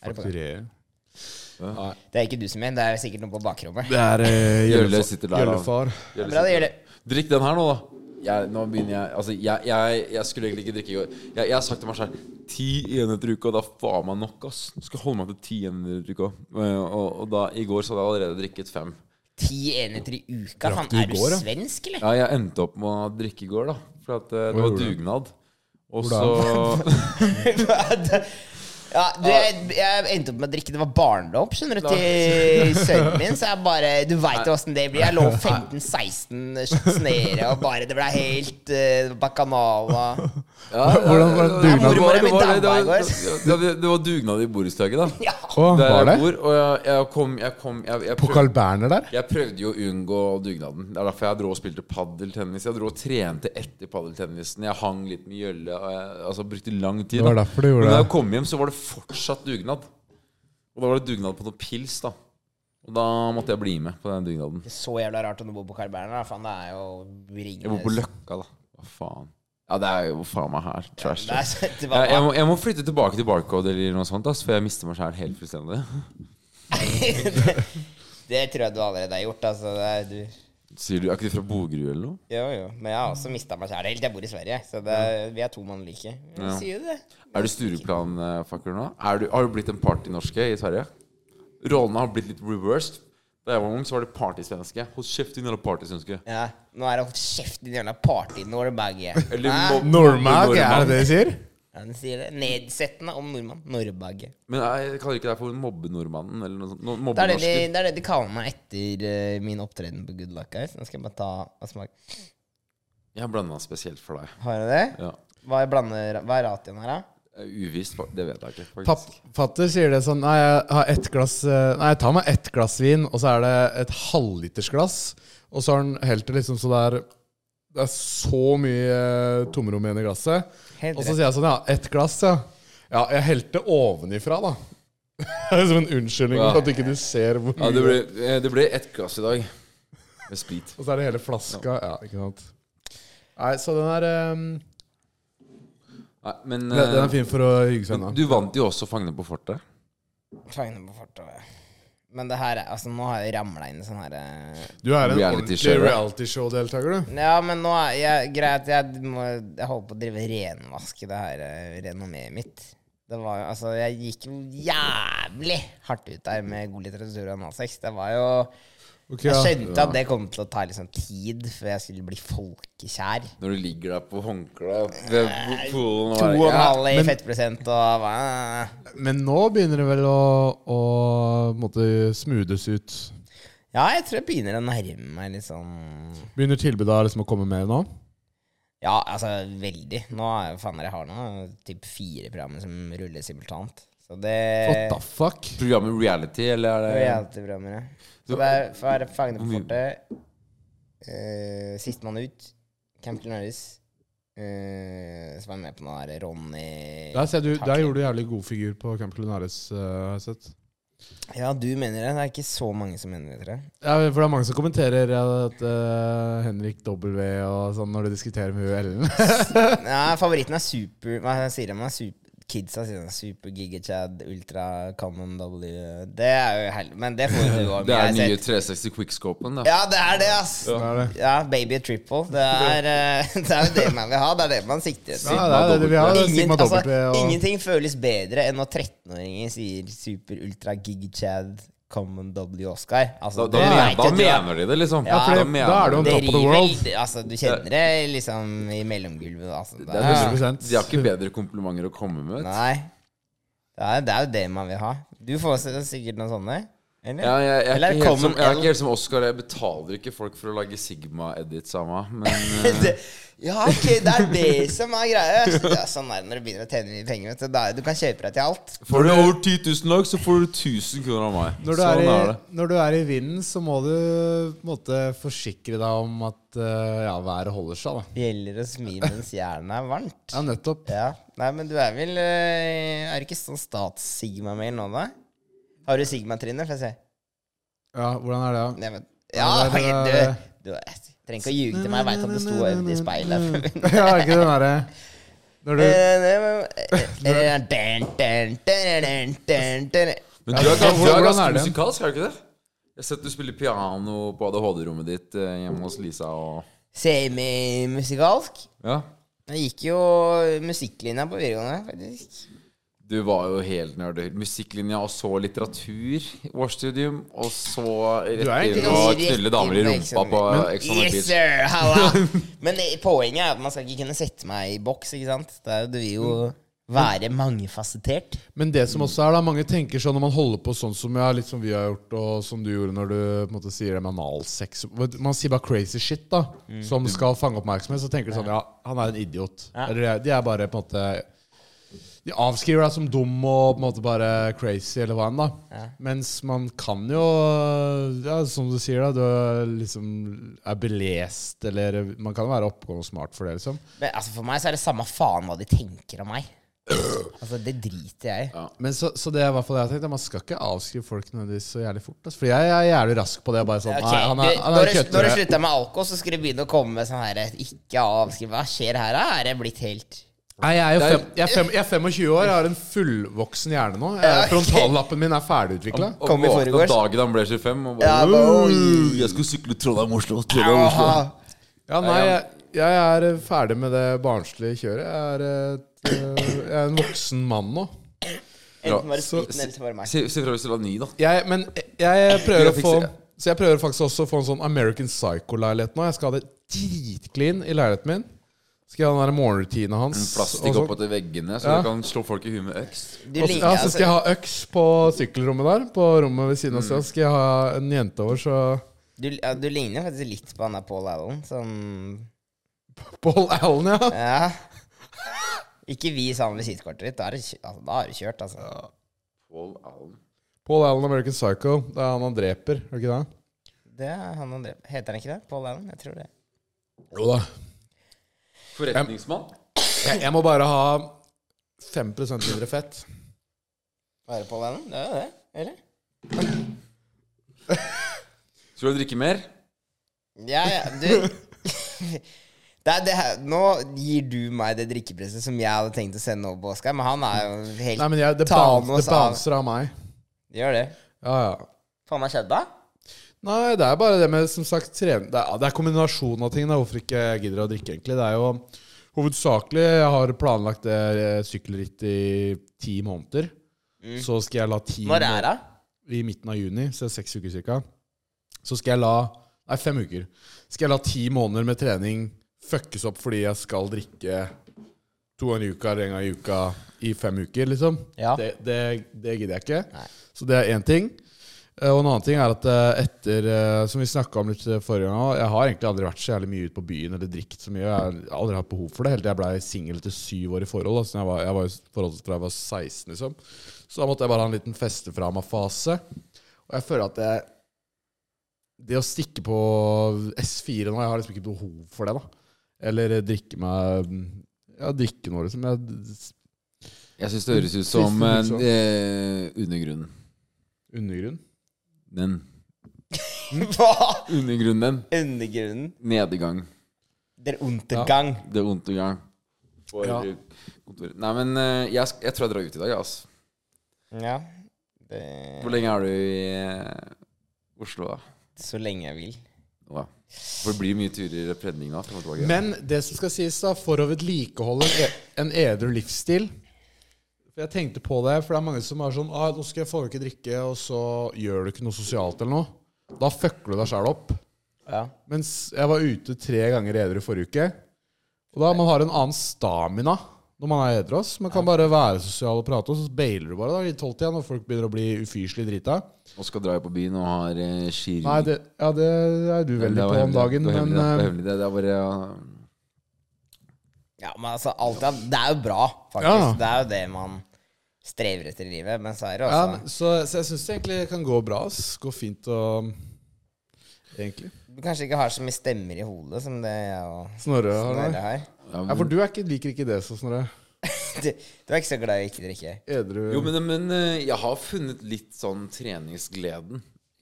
Speaker 2: Er du på det?
Speaker 4: Fakturere.
Speaker 2: det er ikke du som mener, det er sikkert noe på bakrommet.
Speaker 4: Det er eh,
Speaker 3: Gjølle
Speaker 4: Gjølle-
Speaker 3: sitter der,
Speaker 4: Gjøllefar.
Speaker 3: Gjør
Speaker 2: Bra, det gjør det.
Speaker 3: Drikk den her nå, da. Jeg, nå begynner jeg Altså, jeg, jeg, jeg skulle egentlig ikke drikke i går. Jeg, jeg har sagt til meg selv ti enheter i uka, og da faen meg nok, ass. Nå skal jeg holde meg til ti enheter i uka. Og, og, og da, i går så hadde jeg allerede drikket fem.
Speaker 2: Ti enheter i uka? Faen,
Speaker 4: du i
Speaker 2: er du
Speaker 4: går, ja?
Speaker 2: svensk, eller?
Speaker 3: Ja, jeg endte opp med å drikke i går, da. For at eh,
Speaker 4: Hva
Speaker 3: det var
Speaker 4: gjorde du?
Speaker 3: dugnad. Og så
Speaker 4: Hvordan?
Speaker 2: Ja, du, jeg, jeg endte opp med å drikke Det var barndom, skjønner du, til sønnen min. Så jeg bare Du veit jo åssen det blir. Jeg lå 15-16 shots nede, og bare Det ble helt uh, bacanala.
Speaker 3: Ja,
Speaker 4: Hvordan var
Speaker 3: ja,
Speaker 4: dugnad?
Speaker 3: det var- det var- det var-
Speaker 2: Mormor er min dame i
Speaker 3: det var- Det var dugnad i borettslaget, da.
Speaker 2: Ja.
Speaker 4: Å,
Speaker 3: Der
Speaker 4: var det?
Speaker 3: jeg bor. Og jeg, jeg kom Jeg, kom, jeg, jeg
Speaker 4: På
Speaker 3: prøvde-
Speaker 4: Carl Berner der?
Speaker 3: Jeg prøvde jo å unngå dugnaden. Det er derfor jeg dro og spilte paddeltennis. Jeg dro og trente etter paddeltennisen. Jeg hang litt med gjølle. og jeg- Altså brukte lang tid.
Speaker 4: Det var
Speaker 3: da.
Speaker 4: derfor du gjorde
Speaker 3: Men da
Speaker 4: det.
Speaker 3: jeg kom hjem, så var det fortsatt dugnad. Og da var det dugnad på noe pils, da. Og da måtte jeg bli med på den dugnaden.
Speaker 2: Så jævla rart om du bor på Carl Berner. da. Faen, det er jo
Speaker 3: Jeg bor på
Speaker 2: ringende
Speaker 3: Løkka, da. Hva faen. Ja, det er jo faen meg her. Trash.
Speaker 2: Det er så- det
Speaker 3: Jeg, jeg,
Speaker 2: var-
Speaker 3: må, jeg må flytte tilbake til Barcode eller noe sånt, ass, for jeg mister meg sjæl helt fullstendig.
Speaker 2: Det tror jeg du allerede har gjort. Altså, det er, du
Speaker 3: Sier du, Er ikke du fra Bogerud eller noe?
Speaker 2: Jo, jo. Men jeg har også mista meg sjæl helt. Jeg bor i Sverige, så det er, vi er to mann like.
Speaker 3: Ja.
Speaker 2: Sier du det?
Speaker 3: Er du Stureplan-fucker nå? Er du, har du blitt en partynorske i Sverige? Rollene har blitt litt reversed. Da jeg var ung, så var det partysvenske. Hold kjeft, din jævla partysvenske.
Speaker 2: Ja. Nå er det hold kjeft, din jævla party-Norge.
Speaker 3: Eller
Speaker 2: Hæ?
Speaker 3: mob-
Speaker 4: Normag, er
Speaker 3: nordmann.
Speaker 4: det det de sier?
Speaker 2: Ja, den sier det. Nedsettende om nordmann. Norrbagge.
Speaker 3: Men eh, jeg kaller ikke deg for mobbenordmannen eller noe sånt. No,
Speaker 2: Det er det, de,
Speaker 3: mobbenorsker.
Speaker 2: det er det de kaller meg etter eh, min opptreden på Good Luck Guys. Nå skal jeg bare ta og smake.
Speaker 3: Jeg har blanda spesielt for deg.
Speaker 2: Har jeg det?
Speaker 3: Ja.
Speaker 2: Hva, jeg blander, hva er ratioen her, da?
Speaker 3: Eh, Uvisst, fa- det vet jeg ikke. faktisk.
Speaker 4: Papp, fatter sier det sånn Nei, jeg har ett glass eh, Nei, jeg tar meg ett glass vin, og så er det et halvlitersglass. Og så har han helt det liksom så det er Det er så mye eh, tomrom igjen i glasset.
Speaker 2: Helt
Speaker 4: Og så
Speaker 2: rett.
Speaker 4: sier jeg sånn, ja, ett glass, ja. Ja, jeg helte ovenifra, da. Det er som en unnskyldning
Speaker 3: Ja.
Speaker 4: for at ikke du ser hvor
Speaker 3: Ja, det
Speaker 4: mye-
Speaker 3: ble, eh, det ble ett glass i dag med sprit.
Speaker 4: Og så er det hele flaska. Ja, ikke sant. Nei, så den er ehm,
Speaker 3: Nei, men
Speaker 4: den, den
Speaker 3: eh,
Speaker 4: er fin for å hygge seg med.
Speaker 3: du vant jo også Fangene på fortet.
Speaker 2: Fangene på fortauet. Men det her er Altså, nå har jeg ramla inn i sånn herre
Speaker 4: Du er en
Speaker 3: Reality
Speaker 4: ordentlig
Speaker 3: show, ja.
Speaker 4: realityshow-deltaker, du.
Speaker 2: Ja, men nå er jeg Greit, jeg, må, jeg holder på å drive renvaske det her eh, renommeet mitt. Det var jo Altså, jeg gikk jo jævlig hardt ut der med god litteratur og analsex. Det var jo
Speaker 4: Okay,
Speaker 2: Jeg
Speaker 4: ja.
Speaker 2: skjønte at det kom til å ta liksom tid før jeg skulle bli folkekjær.
Speaker 3: Når du ligger der på håndkleet ved po- poolen og
Speaker 2: To og
Speaker 3: bare,
Speaker 2: en
Speaker 3: ja.
Speaker 2: halv i
Speaker 4: men-
Speaker 2: fettprosent og hva
Speaker 4: Men nå begynner det vel å, å på en måte smoothes ut.
Speaker 2: Ja, jeg tror jeg begynner å nærme meg litt sånn
Speaker 4: Begynner tilbudet liksom å komme mer nå?
Speaker 2: Ja, altså veldig. Nå er jo faen jeg har nå typ fire programmer som ruller simultant. Så det
Speaker 4: What the fuck?
Speaker 3: Programmet reality, eller
Speaker 2: Det
Speaker 3: er
Speaker 2: er
Speaker 3: det
Speaker 2: reality-programmer, ja. Så det er for å være Fangene på
Speaker 3: Hvor mye-
Speaker 2: fortet, uh, Sistemann ut, Camp Lenaris, uh, som er med på noe her, Ronny
Speaker 4: Der, ser du, der
Speaker 2: eh, Takk.
Speaker 4: gjorde du jævlig god figur på Camp Culinaris. eh, har jeg sett.
Speaker 2: Ja, du mener det. Det er ikke så mange som mener det, tror jeg.
Speaker 4: Ja, for det er mange som kommenterer at eh, Henrik W og sånn når de diskuterer med hun Ellen.
Speaker 2: Ja, favoritten er super Hva sier de? Super, kidsa sier de super gigachad, ultra common W Det er jo hel... Men det får jo du òg
Speaker 3: Det er
Speaker 2: med.
Speaker 3: den nye
Speaker 2: Jeg har sett.
Speaker 3: 360 quickscopen, da.
Speaker 2: Ja, det er det, ass.
Speaker 4: Det er det.
Speaker 2: Ja, baby triple. Det er, eh, det er jo det man vil ha. Det er det man sikter etter.
Speaker 4: Ja, det er det, det vi har.
Speaker 2: Ingen-
Speaker 4: Sigma
Speaker 2: altså,
Speaker 4: W og
Speaker 2: Ingenting føles bedre enn når 13-åringer sier super ultra gigachad common W Oscar.
Speaker 3: Da,
Speaker 2: Altså,
Speaker 3: da,
Speaker 2: det
Speaker 3: men-
Speaker 2: vet
Speaker 3: da
Speaker 2: jeg at du har-
Speaker 3: mener de det, liksom.
Speaker 2: Ja, for det-
Speaker 3: mener
Speaker 4: da er det jo-
Speaker 3: de
Speaker 4: on
Speaker 2: det
Speaker 4: top of the world.
Speaker 2: river, altså, du kjenner det liksom i mellomgulvet. Altså. Det
Speaker 3: Det
Speaker 2: er-
Speaker 3: er
Speaker 4: 100%.
Speaker 3: De har ikke bedre komplimenter å komme med. vet du.
Speaker 2: Nei. Det er, det er jo det man vil ha. Du får s- sikkert noen sånne? Eller?
Speaker 3: Ja, jeg, jeg,
Speaker 2: Eller
Speaker 3: er ikke helt som,
Speaker 2: common
Speaker 3: jeg er
Speaker 2: L.
Speaker 3: ikke helt som Oscar. Jeg betaler ikke folk for å lage Sigma-edits av meg. Men eh,
Speaker 2: Det- Ja, ok, det er det som er greia. Så det er Sånn er det når du begynner å tjene mye penger. Vet du. Da er- du kan kjøpe deg til alt.
Speaker 3: får du over 10 000 lag, så får du 1000 kroner av meg.
Speaker 4: når du, er
Speaker 3: sånn
Speaker 4: i,
Speaker 3: er det.
Speaker 4: når du er i vinden, så må du på en måte, forsikre deg om at eh, ja, været holder seg. da.
Speaker 2: Det gjelder å smi mens jernet er varmt.
Speaker 4: Ja, nettopp.
Speaker 2: Ja. Nei, men du er vel eh, Er du ikke sånn stats-sigma-mail nå, da? Har du sigma-trinnet? Får jeg se.
Speaker 4: Ja, Hvordan er det? da?
Speaker 2: Nei, men, ja,
Speaker 4: Ja, det er-
Speaker 2: du, du trenger ikke å ljuge til meg. Jeg veit at det sto øvd i speilet. Eh,
Speaker 4: ja, ikke den derre Når du
Speaker 2: eh,
Speaker 3: Men du er
Speaker 4: Hvordan-
Speaker 3: ganske, du er
Speaker 4: hvordan
Speaker 3: ganske
Speaker 4: er det?
Speaker 3: musikalsk, er du ikke det? Jeg har sett du spiller piano på ADHD-rommet ditt eh, hjemme hos Lisa og
Speaker 2: Semimusikalsk.
Speaker 3: Ja.
Speaker 2: Jeg gikk jo musikklinja på videregående, faktisk.
Speaker 3: Du var jo helt nerd. Musikklinja, og så litteratur, årsstudium, og så rett
Speaker 4: Du er egentlig
Speaker 3: inn og
Speaker 2: ganske
Speaker 3: knulle damer i
Speaker 2: riktig på
Speaker 3: rumpa på
Speaker 2: Ex on the
Speaker 3: Ex on the
Speaker 2: Yes,
Speaker 3: Beach.
Speaker 2: sir! Halla! Men eh, poenget er at man skal ikke kunne sette meg i boks, ikke sant? Det er jo, du vil jo
Speaker 3: Mm.
Speaker 2: være mangefasettert.
Speaker 4: Men det som også er da, mange tenker sånn når man holder på sånn som, ja, litt som vi har gjort, og som du gjorde når du på en måte sier det med analsex Vet du, Man sier bare crazy shit, da,
Speaker 2: Mm.
Speaker 4: som skal fange oppmerksomhet. Så tenker de sånn Ja, han er en idiot.
Speaker 2: Ja.
Speaker 4: Eller de er bare på en måte De avskriver deg som dum og på en måte bare crazy, eller hva enn, da.
Speaker 2: Ja.
Speaker 4: Mens man kan jo, ja, som du sier, da, du er liksom er belest, eller Man kan jo være oppegående og smart for det, liksom.
Speaker 2: Men altså, for meg så er det samme faen hva de tenker om meg. Altså, det driter jeg i.
Speaker 4: Men så, så det er i hvert fall det jeg tenkte Man skal ikke avskrive folk nødvendigvis så jævlig fort. Altså. For jeg, jeg er jævlig rask på det. Bare sånn,
Speaker 2: Ok,
Speaker 4: nei, han er,
Speaker 2: du,
Speaker 4: han
Speaker 2: når, du, når
Speaker 4: er
Speaker 2: du
Speaker 4: køttere.
Speaker 2: slutter med alkohol, så skal du begynne å komme med sånn her Ikke avskriv. Hva skjer her? da? Er det blitt helt
Speaker 4: Nei, jeg er jo
Speaker 3: Det er-
Speaker 4: fem, jeg er fem, jeg er 25 år, jeg har en fullvoksen hjerne nå. Jeg,
Speaker 2: Ja, ok.
Speaker 4: Frontallappen min er ferdigutvikla.
Speaker 3: Og
Speaker 2: Kom i
Speaker 3: våkna
Speaker 2: forgårs.
Speaker 3: dagen han ble 25 og bare
Speaker 2: Ja, bare, oi.
Speaker 3: «Øh, Jeg skulle sykle Trondheim-Oslo. Trondheim-Oslo.
Speaker 4: Ja, nei, jeg, jeg er eh, ferdig med det barnslige kjøret. Jeg er, et, eh, jeg er en voksen mann nå.
Speaker 2: Enten var det
Speaker 3: Så-
Speaker 2: spriten, eller så var det meg.
Speaker 3: Si si fra hvis du vil ha ny, da.
Speaker 4: Jeg, men jeg prøver
Speaker 3: Jeg
Speaker 4: å få
Speaker 3: fikser det.
Speaker 4: Så jeg prøver faktisk også å få en sånn American Psycho-leilighet nå. Jeg skal ha det dritclean i leiligheten min. Skal jeg ha den der morgenrutinen hans. og
Speaker 3: Plastikk
Speaker 4: sånn.
Speaker 3: oppetter veggene, så
Speaker 4: Ja.
Speaker 3: du kan slå folk i huet med øks.
Speaker 2: Du
Speaker 4: Og så-
Speaker 2: liker
Speaker 4: ja, så
Speaker 2: altså,
Speaker 4: skal jeg ha øks på sykkelrommet der. På rommet ved siden av seg skal jeg ha en jente over, så
Speaker 2: du, ja, du ligner jo faktisk litt på han der Paul Allen. Sånn
Speaker 4: Paul Allen, ja.
Speaker 2: Ja. Ikke vis han visittkortet ditt. Da er det kjø- altså, da er det kjørt, altså.
Speaker 3: Paul Allen.
Speaker 4: Paul Allen, American Psycho. Det er han han dreper, er det ikke det?
Speaker 2: Det er han han dreper. Heter han ikke det? Paul Allen? Jeg tror det.
Speaker 4: Jo da.
Speaker 3: Forretningsmann.
Speaker 4: Jeg, jeg må bare ha 5 mindre fett.
Speaker 2: Være på den? Det er jo det. Eller?
Speaker 3: Skal du drikke mer?
Speaker 2: Ja, ja, du det er det her, Nå gir du meg det drikkepresset som jeg hadde tenkt å sende over på Oskar, men han er jo helt
Speaker 4: Nei, men jeg, det,
Speaker 2: Thanos
Speaker 4: bounce, det
Speaker 2: av-
Speaker 4: bouncer av meg.
Speaker 2: Gjør det.
Speaker 4: Ja, ja.
Speaker 2: Faen meg skjedde da?
Speaker 4: Nei, det er bare det med som sagt, trening Det er, det er kombinasjonen av ting. Da, hvorfor ikke jeg gidder å drikke, egentlig. Det er jo hovedsakelig Jeg har planlagt det eh, sykkelrittet i ti måneder. Så skal jeg la ti
Speaker 2: Når er det?
Speaker 4: i midten av juni, så det er seks uker cirka, så skal jeg la Nei, fem uker. Skal jeg la ti måneder med trening fuckes opp fordi jeg skal drikke to ganger i uka eller en gang i uka i fem uker, liksom?
Speaker 2: Ja.
Speaker 4: Det, det, det gidder jeg ikke.
Speaker 2: Nei.
Speaker 4: Så det er én ting. Eh, Og en annen ting er at eh, etter eh, Som vi snakka om litt forrige gang også, Jeg har egentlig aldri vært så jævlig mye ute på byen eller drikket så mye. Jeg har aldri hatt behov for det, helt til jeg ble singel etter syv år i forhold. Altså, jeg var, jeg var i forhold fra jeg var 16, liksom. Så da måtte jeg bare ha en liten feste fra meg-fase. Og jeg føler at det Det å stikke på S4 nå Jeg har liksom ikke behov for det, da. Eller drikke meg Ja, drikke noe, liksom. Jeg,
Speaker 3: Jeg syns det høres ut
Speaker 4: Siste
Speaker 3: som eh,
Speaker 4: liksom.
Speaker 3: eh, undergrunnen.
Speaker 4: undergrunn.
Speaker 3: Den.
Speaker 2: Hva?
Speaker 3: Undergrunnen.
Speaker 2: Undergrunnen.
Speaker 3: Nedgang.
Speaker 2: Der Untergang.
Speaker 3: Det er vondt i gang. For
Speaker 4: Ja.
Speaker 3: kontoret. Nei, men eh, jeg, sk- jeg tror jeg drar ut i dag, altså.
Speaker 2: Ja. Det,
Speaker 3: Hvor lenge er du i eh, Oslo, da?
Speaker 2: så lenge jeg vil.
Speaker 3: Nå, da? For det blir mye turer i Predning da. frem og tilbake.
Speaker 4: Men det som skal sies, da, for å vedlikeholde en e- en edru livsstil For Jeg tenkte på det, for det er mange som er sånn ah, 'Nå skal jeg få ikke drikke', og så gjør du ikke noe sosialt eller noe. Da fucker du deg sjæl opp.
Speaker 2: Ja.
Speaker 4: Mens jeg var ute tre ganger edru forrige uke. Og da man har en annen stamina når man er edru. ass. Man kan bare være sosial og prate, og så bailer du bare da i tolvtida når folk begynner å bli ufyselig drita.
Speaker 3: Og skal dra på byen og har eh, skirunning.
Speaker 4: Nei, det, ja, det er du
Speaker 3: Det
Speaker 4: veldig
Speaker 3: var
Speaker 4: på om
Speaker 3: hemmelig,
Speaker 4: dagen,
Speaker 3: det var hemmelig, det var
Speaker 4: men eh,
Speaker 3: hemmelig, det, det er bare ja.
Speaker 2: ja, men altså, alt er, det er jo bra, faktisk.
Speaker 4: Ja.
Speaker 2: Det er jo det man strever etter i livet, men så er det
Speaker 4: ja,
Speaker 2: også
Speaker 4: men- så, så jeg syns det egentlig kan gå bra. ass. Gå fint og Egentlig.
Speaker 2: Du kanskje ikke har så mye stemmer i hodet som det jeg og
Speaker 4: Snorre har det.
Speaker 2: Snorre har.
Speaker 3: Ja,
Speaker 4: Ja, for du er ikke, liker ikke det, så Snorre.
Speaker 2: Du, du er ikke så glad i å ikke drikke.
Speaker 4: Edru
Speaker 3: Jo, men, men eh, jeg har funnet litt sånn treningsgleden,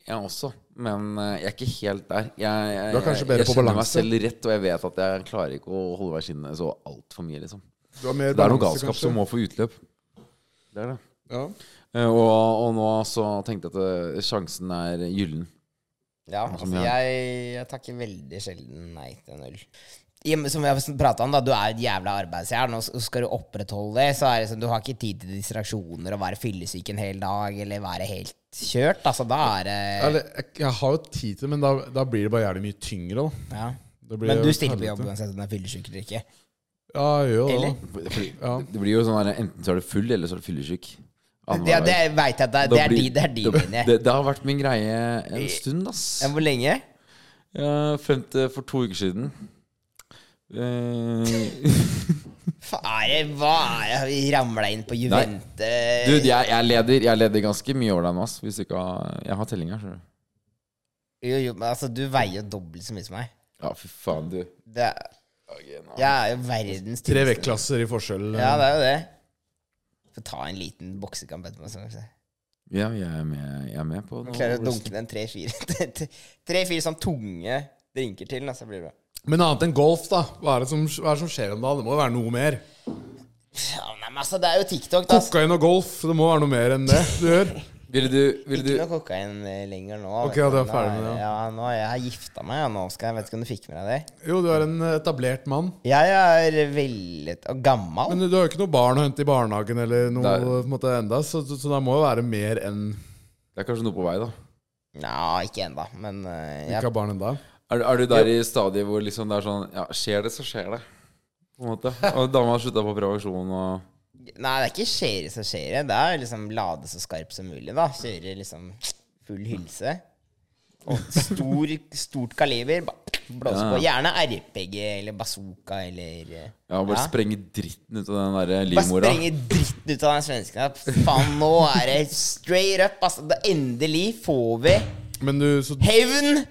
Speaker 3: jeg også. Men eh, jeg er ikke helt der. Jeg, jeg,
Speaker 4: Du er kanskje
Speaker 3: jeg,
Speaker 4: bedre
Speaker 3: jeg
Speaker 4: på
Speaker 3: kjenner meg
Speaker 4: balanse.
Speaker 3: selv rett, og jeg vet at jeg klarer ikke å holde meg skinnet så altfor mye, liksom.
Speaker 4: Du har mer
Speaker 3: Det er noe
Speaker 4: balanse,
Speaker 3: galskap
Speaker 4: kanskje?
Speaker 3: som må få utløp. Det er det.
Speaker 4: Ja.
Speaker 3: Eh, Og, og nå så tenkte jeg at eh, sjansen er gyllen.
Speaker 2: Ja,
Speaker 3: Ja, som
Speaker 2: altså, jeg, jeg takker veldig sjelden nei til en øl. I og med- Som vi har prata om, da, du er et jævla arbeidsjern, og s- og skal du opprettholde det, så er det sånn, du har ikke tid til distraksjoner og være fyllesyk en hel dag eller være helt kjørt. Altså, da er det
Speaker 4: Eller, jeg, jeg har jo tid til det, men da, da blir det bare jævlig mye tyngre. Da.
Speaker 2: ja.
Speaker 4: Det blir
Speaker 2: Men
Speaker 4: jo
Speaker 2: du stiller på
Speaker 4: helvete.
Speaker 2: jobb uansett om du er fyllesyk eller ikke.
Speaker 4: Ja, jeg gjør jo det.
Speaker 2: Eller?
Speaker 4: da.
Speaker 3: Fordi,
Speaker 4: Ja.
Speaker 3: Det blir jo sånn her, enten så er du full, eller så er du fyllesyk.
Speaker 2: Ja, det veit jeg at det, er-
Speaker 3: Da
Speaker 2: det er
Speaker 3: blir-
Speaker 2: de- det er Eh, de
Speaker 3: da-
Speaker 2: mine.
Speaker 3: det, det har vært min greie en stund, ass.
Speaker 2: Ja, Hvor lenge?
Speaker 3: Ja, frem til for to uker siden. Eh,
Speaker 2: Hva er det, hva er det? Vi ramla inn på Juvente
Speaker 3: du, jeg, jeg, leder, jeg leder ganske mye over deg nå, ass. Hvis du ikke har, jeg har telling her, skjønner du.
Speaker 2: Jo, jo, men altså, du veier jo dobbelt så mye som meg.
Speaker 3: Ja, fy faen, du.
Speaker 2: Det er, jeg er jo verdens
Speaker 4: Tre
Speaker 2: tynneste.
Speaker 4: vektklasser i forskjell.
Speaker 2: Ja, det er jo det. Få ta en liten boksekamp etterpå. så skal vi se.
Speaker 3: Ja, jeg er med, jeg er med på noe.
Speaker 2: Klarer å dunke den tre-fire Tre-fire sånn tunge drinker til, da, så blir det bra.
Speaker 4: Men annet enn golf, da. Hva er det som, hva er det som skjer om dagen? Det må jo være noe mer.
Speaker 2: Ja, nei, men altså, det er jo TikTok, da. ass.
Speaker 4: Kokain og golf, det må være noe mer enn det du gjør.
Speaker 3: Ville du, ville
Speaker 2: Ikke
Speaker 3: du
Speaker 2: noe kokain eh, lenger nå.
Speaker 4: Ok,
Speaker 2: vet
Speaker 4: ja,
Speaker 2: du.
Speaker 4: du er
Speaker 2: Nå
Speaker 4: ferdig med det,
Speaker 2: Ja, nå har jeg gifta meg, ja, nå skal jeg vet ikke om du fikk med deg det.
Speaker 4: Jo, du er en etablert mann.
Speaker 2: Jeg er veldig og gammel.
Speaker 4: Men du har jo ikke noe barn å hente i barnehagen eller noe
Speaker 3: Der.
Speaker 4: på en måte enda, så, så, så det må jo være mer enn
Speaker 3: Det er kanskje noe på vei, da.
Speaker 2: Nja, ikke ennå, men eh,
Speaker 4: ikke
Speaker 2: jeg,
Speaker 4: har barn enda.
Speaker 3: Er, du- er du der i stadiet hvor liksom det er sånn Ja, skjer det, så skjer det. På en måte. Og dama har slutta på prevensjon og
Speaker 2: Nei, det er ikke skjere som skjer. Det er liksom lade så skarp som mulig, da. Kjøre liksom full hylse. Og stor, stort kaliber. ba- Blåse på. Gjerne RPG eller bazooka eller eh,
Speaker 3: Ja, bare
Speaker 2: ja.
Speaker 3: sprenge dritten ut av den der eh,
Speaker 2: Bare
Speaker 3: livmora.
Speaker 2: sprenge dritten ut av den svensken. her. Faen, nå er det straight up. Altså, da endelig får vi
Speaker 4: Men du, så
Speaker 2: hevn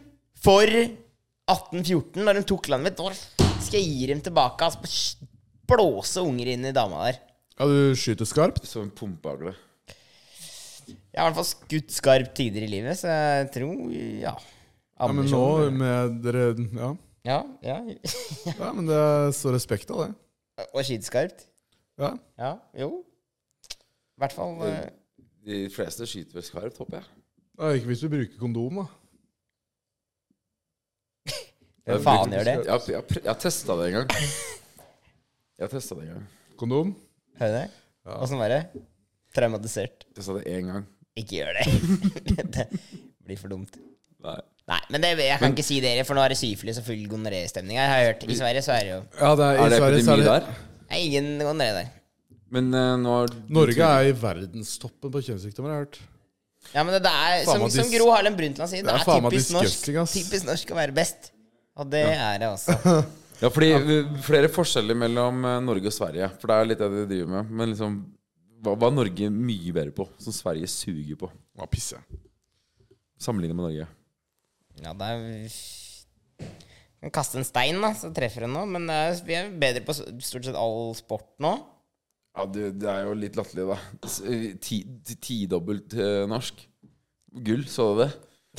Speaker 2: for 1814, når de tok landet mitt. Nå skal jeg gi dem tilbake. Altså, blåse unger inn i dama der.
Speaker 4: ja, du skyter skarpt?
Speaker 3: Som en pumpeagle.
Speaker 2: Jeg har i hvert fall skutt skarpt tider i livet, så jeg tror ja.
Speaker 4: Ja, men nå
Speaker 2: Ambisjoner.
Speaker 4: med dere Ja,
Speaker 2: Ja, ja.
Speaker 4: ja men det er så respekt av det.
Speaker 2: Og skytskarpt.
Speaker 4: Ja.
Speaker 2: Ja, jo. I hvert fall eh,
Speaker 3: De fleste skyter vel skarpt, håper jeg.
Speaker 4: Ja, ikke hvis du bruker kondom, da.
Speaker 2: Hvem faen gjør det?
Speaker 3: Jeg, har- jeg, har pr- jeg har testa det en gang. Jeg har testa det en gang.
Speaker 4: Kondom?
Speaker 2: Hører du det? Åssen var det? Traumatisert.
Speaker 3: Testa det én gang.
Speaker 2: Ikke gjør det. det blir for dumt.
Speaker 3: Nei.
Speaker 2: Nei, men det, jeg kan ikke si dere, for nå er det syfilis og full gonoré-stemning her. Har jeg hørt. I Sverige så er det jo
Speaker 4: Ja, det er,
Speaker 3: Er det
Speaker 4: i Sverige så
Speaker 3: epidemi
Speaker 4: er det-
Speaker 3: der?
Speaker 2: Nei, ingen gonoré der.
Speaker 3: Men eh, nå har
Speaker 4: Norge er i verdenstoppen på kjønnssykdommer, har jeg hørt.
Speaker 2: Ja, men det, det er,
Speaker 4: Faen
Speaker 2: som,
Speaker 4: meg
Speaker 2: som
Speaker 4: dis-
Speaker 2: Gro Harlem Brundtland sier, det
Speaker 4: Det er
Speaker 2: er
Speaker 4: faen meg
Speaker 2: typisk norsk,
Speaker 4: disgusting, ass.
Speaker 2: typisk norsk å være best. Og det er det altså. også.
Speaker 3: Ja, fordi eh, flere forskjeller mellom eh, Norge og Sverige. For det er litt det de driver med. Men liksom hva, hva er Norge mye bedre på, som Sverige suger på,
Speaker 4: Å, pisse.
Speaker 3: sammenlignet med Norge?
Speaker 2: Ja, det er Kan kaste en stein, da, så treffer hun nå. Men det er, vi er bedre på s- stort sett all sport nå.
Speaker 3: Ja, det, det er jo litt latterlig, da. S- eh, Ti, ti- tidobbelt eh, norsk. Gull, så du det?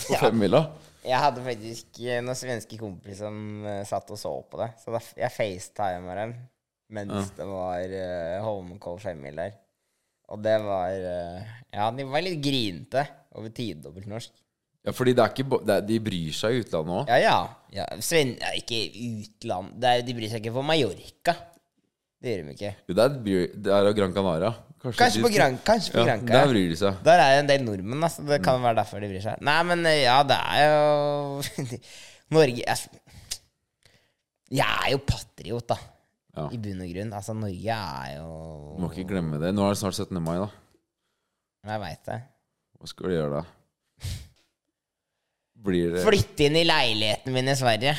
Speaker 3: På
Speaker 2: Ja.
Speaker 3: femmila.
Speaker 2: Jeg hadde faktisk eh, noen svenske kompiser som eh, satt og så på det. Så da, f- jeg facetimer dem mens det var uh, Holmenkoll femmil der. Og det var eh, Ja, de var litt grinete over tidobbelt norsk.
Speaker 3: Ja, fordi det er ikke, ba- det er, de bryr seg i utlandet òg.
Speaker 2: Ja, ja. ja. Sven, ja ikke utland det er, De bryr seg ikke på Mallorca. Det gjør de ikke.
Speaker 3: Det er, bryr- det er jo Gran Canaria. Kanskje,
Speaker 2: Kanskje
Speaker 3: de-
Speaker 2: på, gran, kanskje på
Speaker 3: Ja,
Speaker 2: Granca.
Speaker 3: der bryr Mm. de seg.
Speaker 2: Der er det en del nordmenn, da, så det kan være derfor de bryr seg. Nei, men eh, ja, det er jo Norge altså, Jeg er jo patriot, da.
Speaker 3: Ja.
Speaker 2: I bunn og grunn. Altså, Norge er
Speaker 3: Du må
Speaker 2: jo
Speaker 3: ikke glemme det. Nå er det snart 17. mai, da.
Speaker 2: Jeg veit det.
Speaker 3: Hva skal du gjøre da? Blir det
Speaker 2: Flytte inn i leiligheten min i Sverige.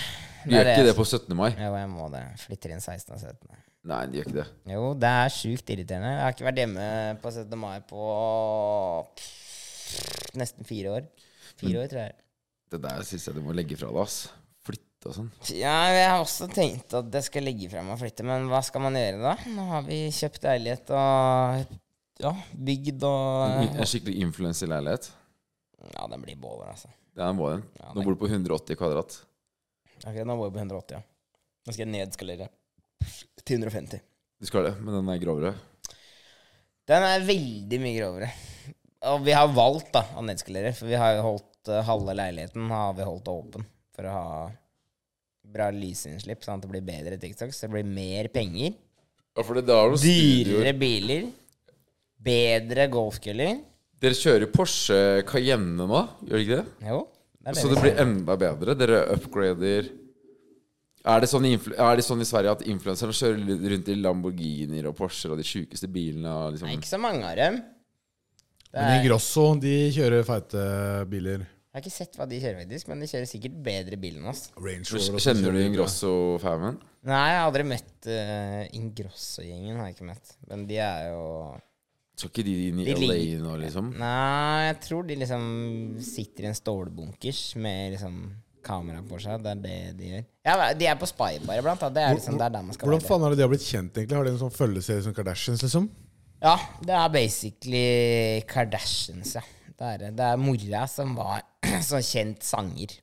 Speaker 3: Vi gjør
Speaker 2: er
Speaker 3: ikke det
Speaker 2: jeg-
Speaker 3: på 17. mai.
Speaker 2: Jo, jeg må det. Flytter inn 16. og 17.
Speaker 3: Nei, de gjør ikke det.
Speaker 2: Jo, det er sjukt irriterende. Jeg har ikke vært hjemme på 17. mai på pff, nesten fire år. Fire år, tror jeg.
Speaker 3: Det der syns jeg du må legge fra deg, ass. Flytte og sånn.
Speaker 2: Ja, jeg har også tenkt at jeg skal legge frem og flytte, men hva skal man gjøre da? Nå har vi kjøpt leilighet og ja, bygd og
Speaker 3: En skikkelig influenserleilighet.
Speaker 2: Ja, den blir båler, altså.
Speaker 3: Det er en vår en.
Speaker 2: Ja,
Speaker 3: Nå
Speaker 2: nei.
Speaker 3: bor du på 180 kvadrat.
Speaker 2: Ok, nå bor vi på 180, ja. Nå skal jeg nedskalere til 150.
Speaker 3: Du skal det, men den er grovere.
Speaker 2: Den er veldig mye grovere. Og vi har valgt da, å nedskalere, for vi har jo holdt eh, halve leiligheten har vi holdt åpen for å ha bra lysinnslipp, sånn at det blir bedre TikTok, så det blir mer penger.
Speaker 3: Ja, for det, det er noen
Speaker 2: Dyrere biler. Bedre golfkøller.
Speaker 3: Dere kjører Porsche Cayenne nå, gjør dere ikke det?
Speaker 2: Jo. Det er
Speaker 3: Så det
Speaker 2: vi
Speaker 3: blir
Speaker 2: sier.
Speaker 3: enda bedre? Dere upgrader Er det sånn i, influ- er det sånn i Sverige at influenserne kjører litt rundt i Lamborghinier og Porscher og de sjukeste bilene? og Liksom.
Speaker 2: Nei, ikke så mange av dem. Det
Speaker 4: Men
Speaker 2: er,
Speaker 4: Ingrosso, de kjører feite biler.
Speaker 2: jeg har ikke sett hva de kjører, faktisk, men de kjører sikkert bedre bil enn oss.
Speaker 4: Range Rover. også
Speaker 3: Kjenner du
Speaker 4: kjører-
Speaker 3: Ingrosso-famen?
Speaker 2: Nei, jeg har aldri møtt eh, Ingrosso-gjengen, har jeg ikke møtt. Men de er jo
Speaker 3: Skal ikke de inn i
Speaker 2: De
Speaker 3: LA
Speaker 2: ligger-
Speaker 3: nå, liksom?
Speaker 2: Nei, jeg tror de liksom sitter i en stålbunkers med liksom kamera på seg. Det er det de gjør. Ja, de er på Spy bare, blant annet. Det er liksom det er der man skal
Speaker 4: Hvordan
Speaker 2: være.
Speaker 4: faen har de har blitt kjent, egentlig? Har de en sånn følgeserie som Kardashians, liksom?
Speaker 2: Ja, det er basically Kardashians, ja. Det er, det. det er mora som var sånn kjent sanger.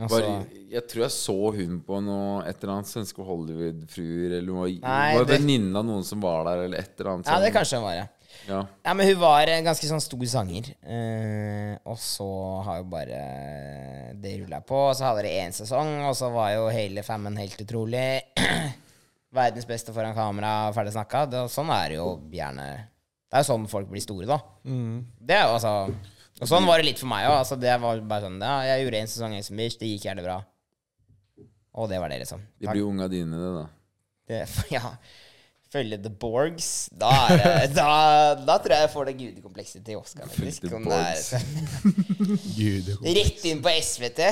Speaker 2: Og så-
Speaker 3: Bare, jeg tror jeg så hun på noe Et eller annet svenske Hollywood-fruer Eller noe
Speaker 2: Nei,
Speaker 3: Var det
Speaker 2: det-
Speaker 3: venninne av noen som var der Eller et eller annet
Speaker 2: ja, det
Speaker 3: sånn.
Speaker 2: kanskje hun var, ja.
Speaker 3: ja.
Speaker 2: Ja, men hun var en ganske sånn stor sanger. Eh, og så har jo bare det rulla på. Og så hadde det én sesong, og så var jo hele fammen helt utrolig. Verdens beste foran kamera, ferdig snakka. Det- Sånn er det jo gjerne Det er jo sånn folk blir store, da. Det er jo altså Og sånn var det litt for meg òg. Altså, det var bare sånn Ja, jeg gjorde én sesong i Exombeach, det gikk jævlig bra. Og det var det, liksom.
Speaker 3: Det blir jo unga dine det da
Speaker 2: Det, ja. Følge The Borgs. Da, er det, da, da tror jeg jeg får det gudekomplekset til Oscar.
Speaker 3: Følge
Speaker 2: faktisk,
Speaker 3: The
Speaker 2: om det er-
Speaker 3: Borgs.
Speaker 4: Gud, det kom-
Speaker 2: Rett inn på SVT.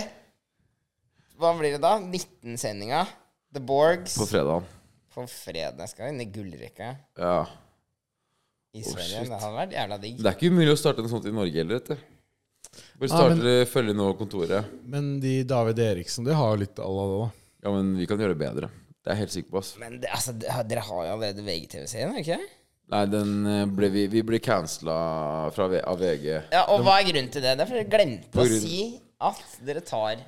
Speaker 2: Hva blir det da? 19-sendinga. The Borgs.
Speaker 3: På fredagen
Speaker 2: På fredag skal vi inn i gullrekka
Speaker 3: ja.
Speaker 2: i
Speaker 3: Oh,
Speaker 2: Sverige.
Speaker 3: shit.
Speaker 2: det hadde vært jævla digg.
Speaker 3: Det er ikke umulig å starte en sånn i Norge heller vet du Bare
Speaker 4: Ah,
Speaker 3: starte
Speaker 4: men-
Speaker 3: det, følge nå kontoret
Speaker 4: Men de David Eriksen, de har jo litt à la det, da.
Speaker 3: Ja, men vi kan gjøre det bedre Det er jeg helt sikker på ass
Speaker 2: Men det, altså, det, dere har jo allerede VGTV-serien, har dere ikke det?
Speaker 3: Nei, den eh, ble vi, vi ble cancela fra V- av VG.
Speaker 2: Ja, og hva er grunnen til det? Det er fordi dere glemte
Speaker 3: På
Speaker 2: å
Speaker 3: grunn-
Speaker 2: si at dere tar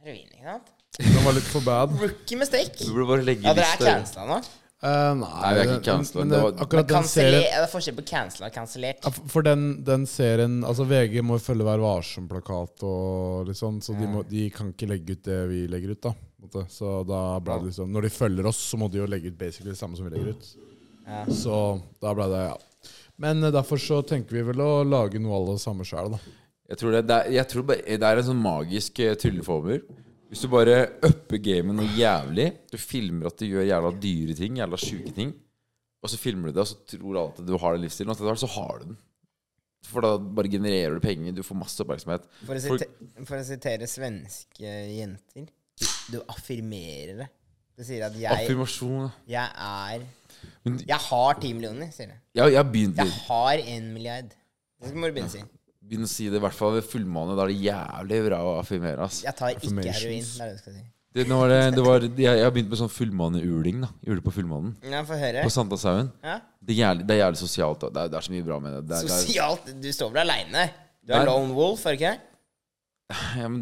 Speaker 2: heroin. ikke sant?
Speaker 4: Den var litt for bad.
Speaker 2: Rookie mistake.
Speaker 3: Du burde bare legge
Speaker 2: Ja, dere er
Speaker 3: lista.
Speaker 2: cancela nå.
Speaker 4: Eh, nei,
Speaker 3: vi er ikke
Speaker 4: den-
Speaker 3: cancela.
Speaker 4: Men,
Speaker 3: Det
Speaker 4: det-
Speaker 3: var-
Speaker 2: Men
Speaker 4: akkurat den
Speaker 2: kanselle-
Speaker 4: serien
Speaker 2: ja, det er forskjell på cancela og kansellert.
Speaker 4: Ja, for- For den, den serien Altså, VG må jo følge Vær varsom-plakat og litt sånn, så de, må, de kan ikke legge ut det vi legger ut, da. på en måte. Så da ble det liksom Når de følger oss, så må de jo legge ut basically det samme som vi legger ut. Så da ble det ja. Men eh, derfor så tenker vi vel å lage noe av det samme sjæl, da.
Speaker 3: Jeg tror, det, det, er, jeg tror bare, det er en sånn magisk eh, trylleformel. Hvis du bare upper gamet noe jævlig Du filmer at du gjør jævla dyre ting, jævla sjuke ting, og så filmer du det, og så tror alle at du har den livsstilen, og så etter hvert så har du den. For da bare genererer du penger, du får masse oppmerksomhet.
Speaker 2: For å,
Speaker 3: Folk-
Speaker 2: site, for å sitere svenske jenter Du affirmerer det. Du sier at jeg,
Speaker 3: Affirmasjon. da.
Speaker 2: jeg er
Speaker 3: Men-
Speaker 2: Jeg har ti millioner, sier du.
Speaker 3: Jeg, jeg har begynt,
Speaker 2: Jeg har en milliard. Det må du begynne å si.
Speaker 3: begynt å si det, i hvert fall ved fullmåne. Da er det jævlig bra å affirmere. Ass.
Speaker 2: Jeg tar ikke
Speaker 4: Affirmations.
Speaker 2: heroin. Det er det du skal si.
Speaker 3: Det, nå var det, det var, jeg, jeg har begynt med sånn fullmåneuling. da. Jeg gjorde det på fullmånen.
Speaker 2: Ja, Få høre.
Speaker 3: På Sankthanshaugen.
Speaker 2: Ja.
Speaker 3: Det, er jævlig- det er jævlig sosialt. da. Det er, det er så mye bra med det. det, er, det er,
Speaker 2: Sosialt Du står vel aleine? Du er
Speaker 3: Nei.
Speaker 2: lone wolf, er du ikke det?
Speaker 3: Ja, men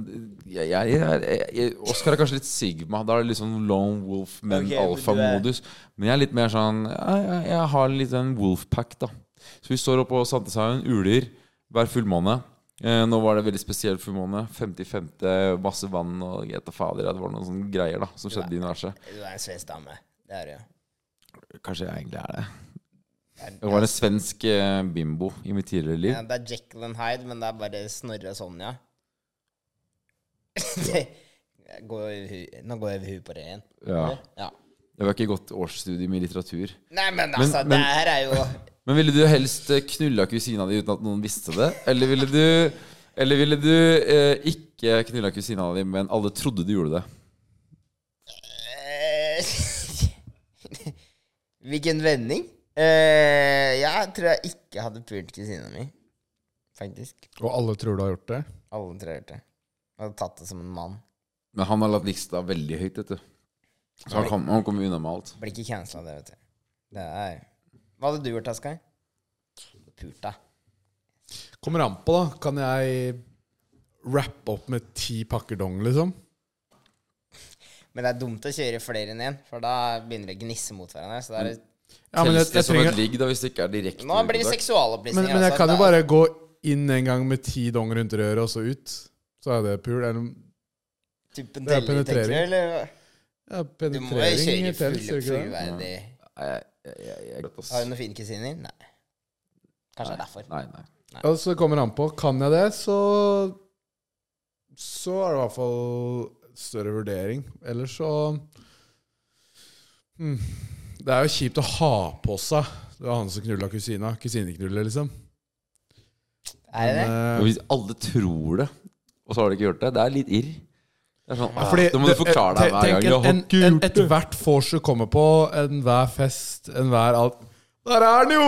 Speaker 3: jeg, jeg, jeg, jeg Oscar er kanskje litt Sigma. Da er det litt sånn lone wolf, men
Speaker 2: Ok, men
Speaker 3: alfa-modus. Men jeg er litt mer sånn Jeg, jeg, jeg har litt den wolf-pack, da. Så vi står oppe på Sandteshaugen, uler hver fullmåne. Eh, nå var det veldig spesiell fullmåne. 55. masse vann og jeg vet da fader. ja, Det var noen sånne greier da som skjedde i universet.
Speaker 2: Du er en svensk dame. Det er du, ja.
Speaker 3: Kanskje jeg egentlig er det.
Speaker 2: Det er-
Speaker 3: Jeg var en svensk eh, bimbo i mitt tidligere liv.
Speaker 2: Ja, det er Jekyll and Hyde, men det er bare Snorre og Sonja. det, jeg går over hu- nå går jeg over huet på det igjen.
Speaker 3: Ja.
Speaker 2: Ja.
Speaker 3: Det var ikke godt årsstudium i litteratur.
Speaker 2: Nei, men altså,
Speaker 3: men-
Speaker 2: det her er jo
Speaker 3: Men ville du helst eh, knulla kusina di uten at noen visste det? Eller ville du, eller ville du eh, ikke knulla kusina di, men alle trodde du gjorde det?
Speaker 2: Eh, Hvilken vending? Eh, jeg tror jeg ikke hadde pult kusina mi, faktisk.
Speaker 4: Og alle tror du har gjort det.
Speaker 2: Alle tre hørte det. Jeg hadde tatt det som en mann.
Speaker 3: Men han har latt lista veldig høyt, vet du. Så han kom- han kommer unna med alt.
Speaker 2: Blir ikke cancela, det, vet du. Det er Hva hadde du gjort, Asgeir? Pult deg.
Speaker 4: Kommer an på, da. Kan jeg rappe opp med ti pakker dong, liksom?
Speaker 2: Men det er dumt å kjøre flere enn én, for da begynner det å gnisse mot hverandre. Så det er,
Speaker 3: Mm.
Speaker 4: Ja, men jeg,
Speaker 3: Telles det
Speaker 4: jeg
Speaker 3: som
Speaker 4: trenger
Speaker 3: et ligg, da, hvis det ikke er direkte
Speaker 2: nå blir det
Speaker 3: utdrag?
Speaker 2: seksualopplysninger.
Speaker 4: Men, men jeg
Speaker 2: altså.
Speaker 4: kan jo
Speaker 2: Det er-
Speaker 4: bare gå inn en gang med ti dong rundt røret, og så ut. Så er det pul. Eller
Speaker 2: Typ
Speaker 4: det er
Speaker 2: penetrering. Tenker, du,
Speaker 4: penetrering.
Speaker 2: eller?
Speaker 4: ja,
Speaker 2: Du må jo kjøre
Speaker 4: penetrering i
Speaker 2: full
Speaker 4: telt, gjør ikke det?
Speaker 2: fullverdig
Speaker 3: Nei, jeg, jeg, jeg, ass.
Speaker 2: Har du noen fine kusiner? Nei. Kanskje det er derfor.
Speaker 3: Nei, nei.
Speaker 4: Ja, så Altså, det kommer an på. Kan jeg det, så Så er det i hvert fall større vurdering. Ellers så hmm. Det er jo kjipt å ha på seg Det var han som knulla kusina. Kusineknuller, liksom. Eh,
Speaker 2: Er det det?
Speaker 3: Men hvis alle tror det, og så har de ikke gjort det, det er litt irr. Det er sånn,
Speaker 4: Ja,
Speaker 3: ah,
Speaker 4: fordi
Speaker 3: da må du
Speaker 4: det-
Speaker 3: forklare deg
Speaker 4: te-
Speaker 3: hver gang.
Speaker 4: tenk
Speaker 3: Jeg har
Speaker 4: en-
Speaker 3: ikke
Speaker 4: en-
Speaker 3: gjort det.
Speaker 4: Ethvert vors du kommer på, enhver fest, enhver alt Der er den jo!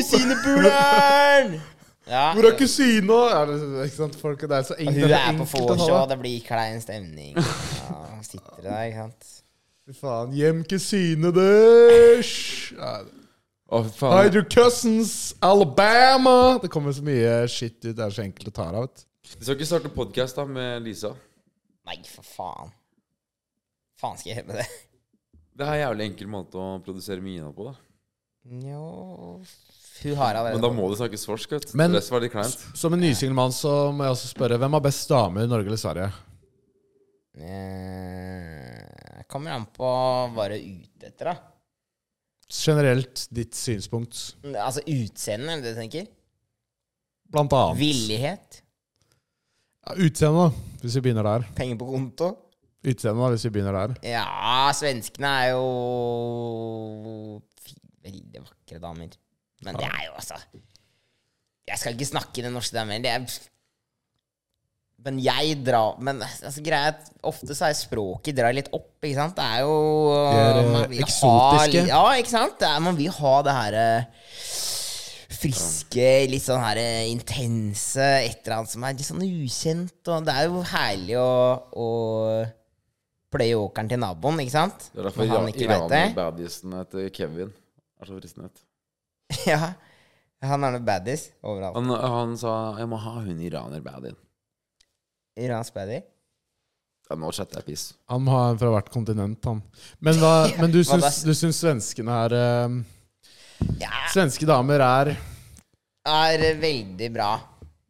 Speaker 2: Kusinepuleren! Ja.
Speaker 4: Hvor er kusina? Ja, det- ikke sant, folk, det er så enkelt.
Speaker 2: Hun
Speaker 4: det
Speaker 2: er på
Speaker 4: enkelt å
Speaker 2: vors,
Speaker 4: ha.
Speaker 2: og det blir klein stemning. Ja, hun sitter der, ikke sant.
Speaker 4: Fy faen. Hjem kusine deres! Ja,
Speaker 3: Å, faen.
Speaker 4: Hide your cousins, Alabama! Det kommer så mye shit ut. Det er så enkelt å ta det av.
Speaker 3: Du skal ikke starte podkast med Lisa?
Speaker 2: Nei, for faen. Faen skal jeg gjøre med det?
Speaker 3: Det er en jævlig enkel måte å produsere mye innhold på. da
Speaker 2: Jo Hun har
Speaker 3: Men da
Speaker 2: allerede
Speaker 3: må det snakkes forsk. vet du.
Speaker 4: Men-
Speaker 3: Resten var litt kleint.
Speaker 4: Som en nysingel mann så må jeg også spørre hvem har best dame i Norge eller Sverige?
Speaker 2: Eh, Kommer an på hva du er ute etter, da.
Speaker 4: Generelt ditt synspunkt.
Speaker 2: Altså utseende, er det det du tenker?
Speaker 4: Blant annet.
Speaker 2: Villighet.
Speaker 4: Ja, Utseendet, da, hvis vi begynner der.
Speaker 2: Penger på konto.
Speaker 4: Utseendet, da, hvis vi begynner der.
Speaker 2: Ja, svenskene er jo fi- veldig vakre damer. Men det er jo altså Jeg skal ikke snakke den norske damer. Det er, men jeg drar Men altså, greia er at ofte så er språket drar litt opp, ikke sant? Det er jo
Speaker 4: er, eh,
Speaker 2: man vil ha
Speaker 4: eksotiske.
Speaker 2: li- ja, ikke sant? Det er, man vil ha det her eh, friske, litt sånn her eh, intense, et eller annet som er litt sånn ukjent. Og det er jo herlig å, å pløye åkeren til naboen, ikke sant?
Speaker 3: Det er derfor
Speaker 2: Når han ikke vet det.
Speaker 3: iraner-baddiesen heter Kevin. Er så fristende.
Speaker 2: ja. Han er noe baddies overalt.
Speaker 3: Han, han sa 'jeg må ha hun iraner-baddien'.
Speaker 2: Iransk baddie.
Speaker 3: Ja, Nå chatter jeg piss.
Speaker 4: Han må ha en fra hvert kontinent, han. Men, hva, men du,
Speaker 2: Hva da?
Speaker 4: syns, du syns svenskene er eh,
Speaker 2: Ja.
Speaker 4: Svenske damer er
Speaker 2: Er veldig bra.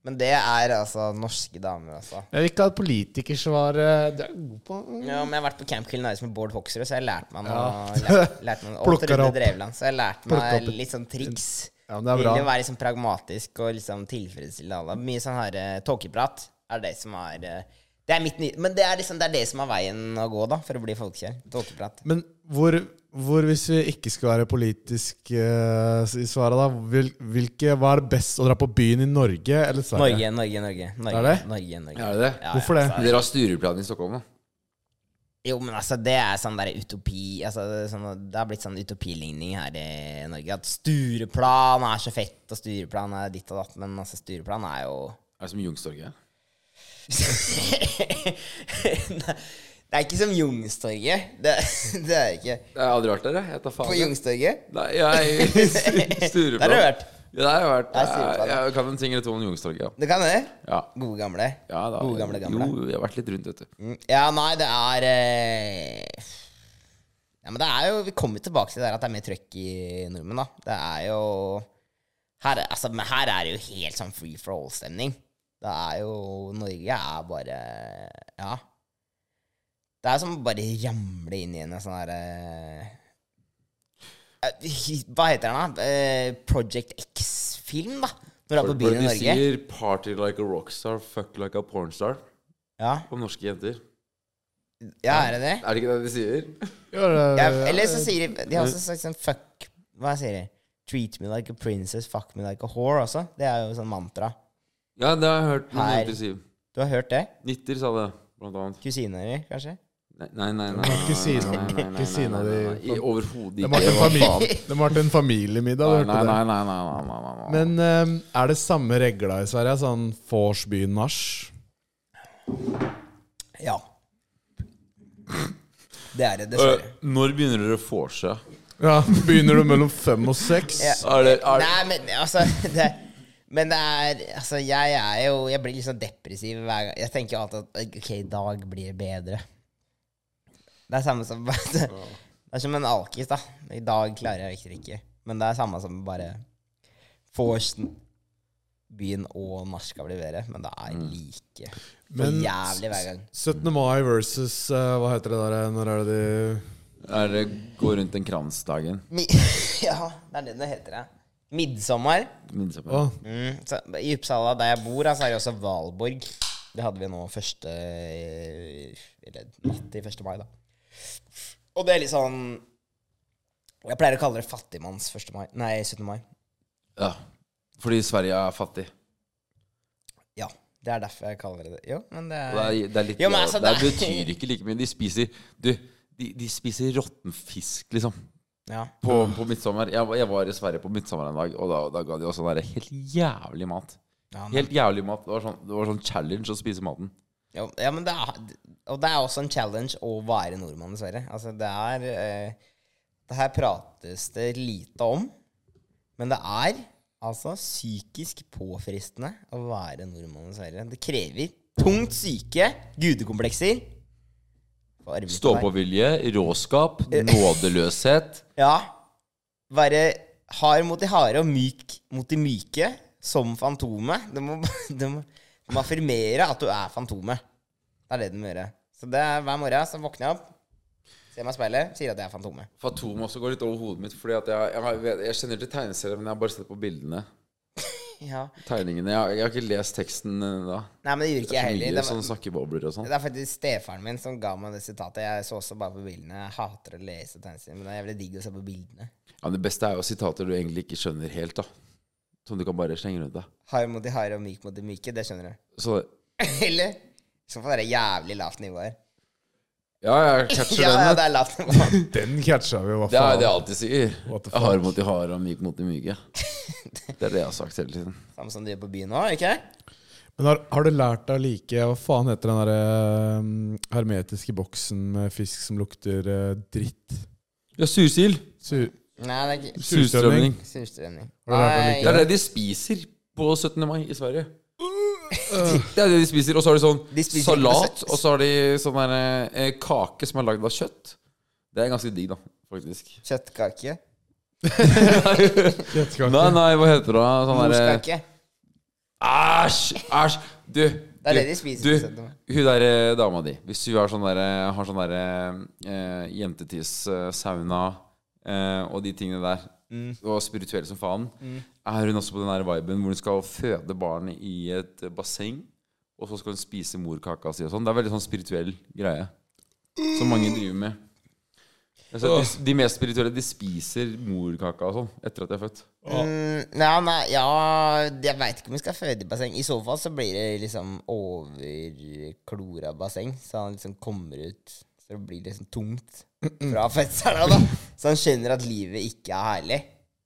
Speaker 2: Men det er altså norske damer, altså.
Speaker 4: Jeg vil ikke ha et politikersvar eh, Det er jeg god på.
Speaker 2: Ja, men jeg har vært på Camp Kill Nice med Bård Hoksrud, så jeg lærte meg noe.
Speaker 4: Ja.
Speaker 2: Lær, lærte meg noe. Og
Speaker 4: Plukker
Speaker 2: Trude
Speaker 4: opp.
Speaker 2: Drevland, så jeg lærte
Speaker 4: Plukker
Speaker 2: meg
Speaker 4: opp.
Speaker 2: litt sånn triks.
Speaker 4: Ja, men det er
Speaker 2: Til
Speaker 4: bra.
Speaker 2: å være liksom pragmatisk og liksom tilfredsstille alle. Mye sånn her eh, tåkeprat er det som er eh, Det er mitt nye Men det er liksom det er det som er veien å gå, da, for å bli folkekjær. Tåkeprat.
Speaker 4: Men hvor, hvor hvis vi ikke skal være politisk eh, i svaret, da hvil, hvilke, Hva er best å dra på byen i Norge eller
Speaker 2: Norge,
Speaker 4: Sverige?
Speaker 2: Norge, Norge. Norge,
Speaker 4: Er det?
Speaker 2: Norge, Norge.
Speaker 3: Er det det?
Speaker 2: Ja,
Speaker 4: Hvorfor det?
Speaker 2: altså,
Speaker 3: Dere har Stureplan i Stockholm, da?
Speaker 2: Jo, men altså, det er sånn der utopi altså, det, er sånn, det har blitt sånn utopiligning her i Norge. At Stureplan er så fett, og Stureplan er ditt og datt, men altså, Stureplan er jo
Speaker 3: Er det som Youngstorget?
Speaker 2: Nei, Det er ikke som Youngstorget. Det, det er ikke
Speaker 3: Jeg har aldri vært der, jeg. Jeg tar
Speaker 2: På
Speaker 3: faen.
Speaker 2: Youngstorget?
Speaker 3: Nei, jeg Stureplan.
Speaker 2: Der har du vært.
Speaker 3: Ja, der har jeg vært.
Speaker 2: Der er Stureplan,
Speaker 3: Jeg, jeg kan en ting eller to om Youngstorget, ja.
Speaker 2: Du kan det?
Speaker 3: ja.
Speaker 2: Gode gamle.
Speaker 3: Ja da.
Speaker 2: Gode gamle, gamle.
Speaker 3: Jo, jeg har vært litt rundt, vet du.
Speaker 2: Mm, Ja, nei, det er eh, Ja, men det er jo Vi kommer jo tilbake til det der at det er mer trøkk i nordmenn, da. Det er jo her, er- altså, Men her er det jo helt sånn free for all-stemning. Det er jo Norge er bare Ja. Det er som å bare ramle inn i en sånn herre Hva heter den, da? Eh, Project X-film, da. Når du er på
Speaker 3: Hvor
Speaker 2: byen i
Speaker 3: de
Speaker 2: Norge.
Speaker 3: sier 'party like a rockstar, fuck like a pornstar'
Speaker 2: Ja,
Speaker 3: om norske jenter.
Speaker 2: ja er det det?
Speaker 3: Er det ikke det de sier?
Speaker 4: Ja, det-
Speaker 2: Ja, eller så sier de De har også sagt sånn fuck Hva sier de? Treat me like a princess, fuck me like a whore også. Det er jo sånn mantra.
Speaker 3: Ja, det har jeg hørt noen
Speaker 2: Her.
Speaker 3: jenter si.
Speaker 2: Du har hørt det?
Speaker 3: Nitter sa det, blant annet.
Speaker 2: Kusina di, kanskje?
Speaker 3: Nei, nei, nei. nei,
Speaker 4: Ikke si det.
Speaker 3: nei, nei, nei, nei,
Speaker 4: Ikke si det,
Speaker 3: nei, nei,
Speaker 4: de-
Speaker 3: nei. I- Overhodet
Speaker 4: Det
Speaker 3: ikke.
Speaker 4: må ha vært en
Speaker 3: Hva faen?
Speaker 4: familie- det må ha vært en familiemiddag.
Speaker 3: Nei,
Speaker 4: Du
Speaker 3: nei,
Speaker 4: hørte det.
Speaker 3: nei, nei, nei, nei, nei, nei.
Speaker 4: Men eh, er det samme regla i Sverige? Sånn vorsby-nach?
Speaker 2: Ja. Det er det,
Speaker 3: Øh,
Speaker 2: dessverre.
Speaker 3: Når begynner dere å vorse?
Speaker 4: Ja, begynner du mellom fem og seks?
Speaker 2: Ja.
Speaker 3: Er det, er det
Speaker 2: Nei, men altså det, Men det er Altså, jeg er jo Jeg blir litt sånn depressiv hver gang. Jeg tenker jo alltid at ok, i dag blir det bedre. Det er samme som Det er som en alkis, da. I dag klarer jeg ikke drikke. Men det er samme som bare Forsen, byen og nach skal bli bedre. Men det er like for
Speaker 4: Men-
Speaker 2: jævlig hver gang.
Speaker 4: 17. mai versus eh, Hva heter det der? Når er det de
Speaker 3: er det gå rundt en krans-dagen?
Speaker 2: Mi ja, det er det det heter, ja. Midtsommer.
Speaker 3: Midsommer.
Speaker 4: Å,
Speaker 2: Mm, så I Uppsala, der jeg bor, så er det også Valborg. Det hadde vi nå første eh, Eller natt til 1. mai, da. Og det er litt sånn Jeg pleier å kalle det fattigmanns 1. mai. Nei, 17. mai.
Speaker 3: Ja. Fordi Sverige er fattig.
Speaker 2: Ja. Det er derfor jeg kaller det det. Jo, men det
Speaker 3: Og Det
Speaker 2: er
Speaker 3: er, det er litt
Speaker 2: Jo, men altså,
Speaker 3: det,
Speaker 2: det er-
Speaker 3: betyr ikke like mye. De spiser Du, de, de spiser råtten fisk, liksom.
Speaker 2: Ja.
Speaker 3: På, på midtsommer. Jeg, var- jeg var i Sverige på midtsommer en dag, og da, da ga de oss sånn der helt jævlig mat.
Speaker 2: Ja, nei.
Speaker 3: Helt jævlig mat. Det var sånn, det var sånn challenge å spise maten.
Speaker 2: Jo, ja, men det er, og det er også en challenge å være nordmann, dessverre. Altså, det er eh, Det her prates det lite om, men det er altså psykisk påfristende å være nordmann, dessverre. Det krever tungt syke, gudekomplekser for arbeid.
Speaker 3: Stå-på-vilje, råskap,
Speaker 2: Eh.
Speaker 3: nådeløshet.
Speaker 2: Ja. Være hard mot de harde og myk mot de myke, som Fantomet. Du må, du må, du må affirmere at du er Fantomet. Det er det du må gjøre. Så det er hver morgen så våkner jeg opp, ser meg i speilet, sier at jeg er Fantomet.
Speaker 3: Fatom også går litt over hodet mitt, fordi at jeg, jeg, har- jeg kjenner til tegneserier, men jeg har bare sett på bildene.
Speaker 2: Ja.
Speaker 3: Tegningene. Jeg, har- jeg har ikke lest teksten eh, da.
Speaker 2: Nei, men det gjorde ikke
Speaker 3: Det
Speaker 2: jeg
Speaker 3: er så
Speaker 2: heller.
Speaker 3: mye
Speaker 2: Det
Speaker 3: sånne
Speaker 2: var,
Speaker 3: snakkebobler og sånn.
Speaker 2: det er faktisk stefaren min som ga meg det sitatet. Jeg så også bare på bildene. Jeg hater å lese tegneserier, men det er jævlig digg å se på bildene.
Speaker 3: Ja, det beste er jo sitater du egentlig ikke skjønner helt, da. Som du kan bare slenge rundt deg.
Speaker 2: Hard mot de harde og myk mot de myke, det skjønner du.
Speaker 3: Så
Speaker 2: Eller? I så fall er det jævlig lavt nivå her.
Speaker 3: ja, jeg catcher
Speaker 2: Ja,
Speaker 3: den.
Speaker 2: ja,
Speaker 3: da.
Speaker 2: det er lavt nivå.
Speaker 4: Den catcha vi jo, hva
Speaker 3: Det er
Speaker 4: faen.
Speaker 3: det jeg alltid sier.
Speaker 4: What the
Speaker 3: Jeg har mot de harde og myk mot de myke. Det er det jeg har sagt hele tiden.
Speaker 2: Samme som du gjør på byen nå, ikke
Speaker 4: Men har, har du lært deg å like Hva faen heter den derre um, hermetiske boksen med fisk som lukter eh, dritt?
Speaker 3: Ja, sursild.
Speaker 4: Sur,
Speaker 2: Nei, det er ikke
Speaker 3: Surstrømning.
Speaker 2: surstrømning.
Speaker 4: Har du lært å
Speaker 2: Nei,
Speaker 4: like
Speaker 3: Det er det de spiser på 17. mai i Sverige. Det er det de spiser. Og så har de sånn
Speaker 2: Uh. De spiser
Speaker 3: salat,
Speaker 2: ikke søtt.
Speaker 3: og så har de sånn der, eh, kake som er lagd av kjøtt. Det er ganske digg, da. Faktisk.
Speaker 2: Kjøttkake.
Speaker 4: Kjøttkake.
Speaker 3: Nei, nei, hva heter det? da? Sånn derre
Speaker 2: Morskake.
Speaker 3: Æsj! Æsj! Du,
Speaker 2: Det er
Speaker 3: du,
Speaker 2: det de spiser liksom.
Speaker 3: Du,
Speaker 2: på 17. mai.
Speaker 3: hun der eh, dama di Hvis hun har sånn der, eh, har sånn der eh, jentetidssauna eh, og de tingene der, og spirituell som faen, er hun også på den der viben hvor hun skal føde barn i et eh, basseng, og så skal hun spise morkaka si og sånn? Det er veldig sånn spirituell greie som mange driver med. Altså, de, de mest spirituelle, de spiser morkaka og sånn etter at de er født.
Speaker 2: Mm, nei, nei, ja Jeg veit ikke om vi skal føde i basseng. I så fall så blir det liksom overklora basseng, så han liksom kommer ut Så det blir liksom tungt fra fødselen av, da. Så han skjønner at livet ikke er herlig.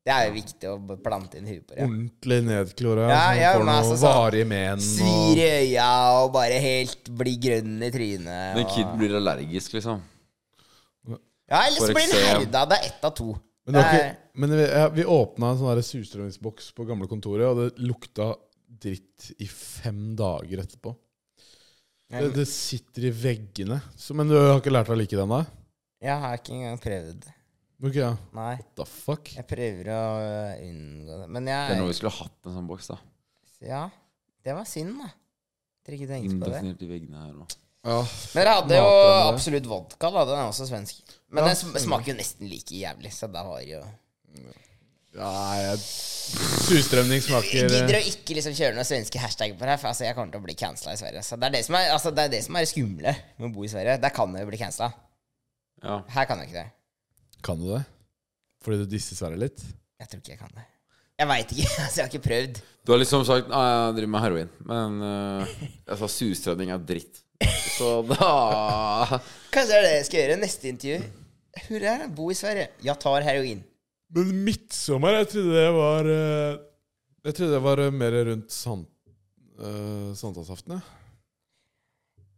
Speaker 2: Det er jo viktig å b- plante inn huet på det.
Speaker 4: Ordentlig nedklora.
Speaker 2: Ja,
Speaker 4: så
Speaker 2: ja,
Speaker 4: han får
Speaker 2: men
Speaker 4: noe
Speaker 2: altså, sånn-
Speaker 4: varige men.
Speaker 2: Svir i øya og bare helt blir grønn i trynet.
Speaker 3: Men kid
Speaker 2: Og...
Speaker 3: blir allergisk, liksom.
Speaker 2: Ja, eller
Speaker 3: får
Speaker 2: så blir den
Speaker 3: eksem.
Speaker 2: herda. Det er ett av to.
Speaker 4: Men, det var
Speaker 2: Det
Speaker 4: ikke, men vi, ja, vi åpna en sånn der surstrømmingsboks på gamle kontoret, og det lukta dritt i fem dager etterpå. Det, det sitter i veggene. Så, men du har ikke lært deg å like den, da?
Speaker 2: Jeg har ikke engang prøvd.
Speaker 4: Ok, ja.
Speaker 2: Nei.
Speaker 4: The fuck?
Speaker 2: Jeg prøver å øh, unngå det. Men
Speaker 3: Det er noe
Speaker 2: jeg
Speaker 3: vi skulle hatt en sånn boks, da.
Speaker 2: Ja, det var synd, da. Dere ikke tenkte på det.
Speaker 3: Indoktrinert i veggene her nå.
Speaker 4: Ja.
Speaker 2: Men dere hadde jo
Speaker 4: Matrende.
Speaker 2: absolutt vodka, da. Den er også svensk. Men
Speaker 4: Ja,
Speaker 2: den sm- smaker jo nesten like jævlig, så da var det jo
Speaker 4: Nei, jeg- surstrømning
Speaker 2: Jeg
Speaker 4: smaker
Speaker 2: gidder å ikke liksom kjøre noen svenske hashtagger på det her, for altså, jeg kommer til å bli cancela i Sverige. Så det er det som er, altså, det er det som er det skumle med å bo i Sverige. Der kan jeg jo bli cancela.
Speaker 3: Ja.
Speaker 2: Her kan jeg ikke det.
Speaker 4: eh, Kan du det? Fordi du disser Sverre litt?
Speaker 2: Jeg tror ikke jeg kan det. Jeg veit ikke. altså, Jeg har ikke prøvd.
Speaker 3: Du har liksom sagt at jeg driver med heroin, men eh, jeg sa sustrening er dritt. Så da
Speaker 2: Kanskje det er det jeg skal gjøre neste intervju. Hurra, bo i Sverige. Jeg tar heroin.
Speaker 4: Men midtsommer, jeg trodde det var eh, Jeg trodde det var eh, mer rundt sant, eh, sankthansaften, jeg.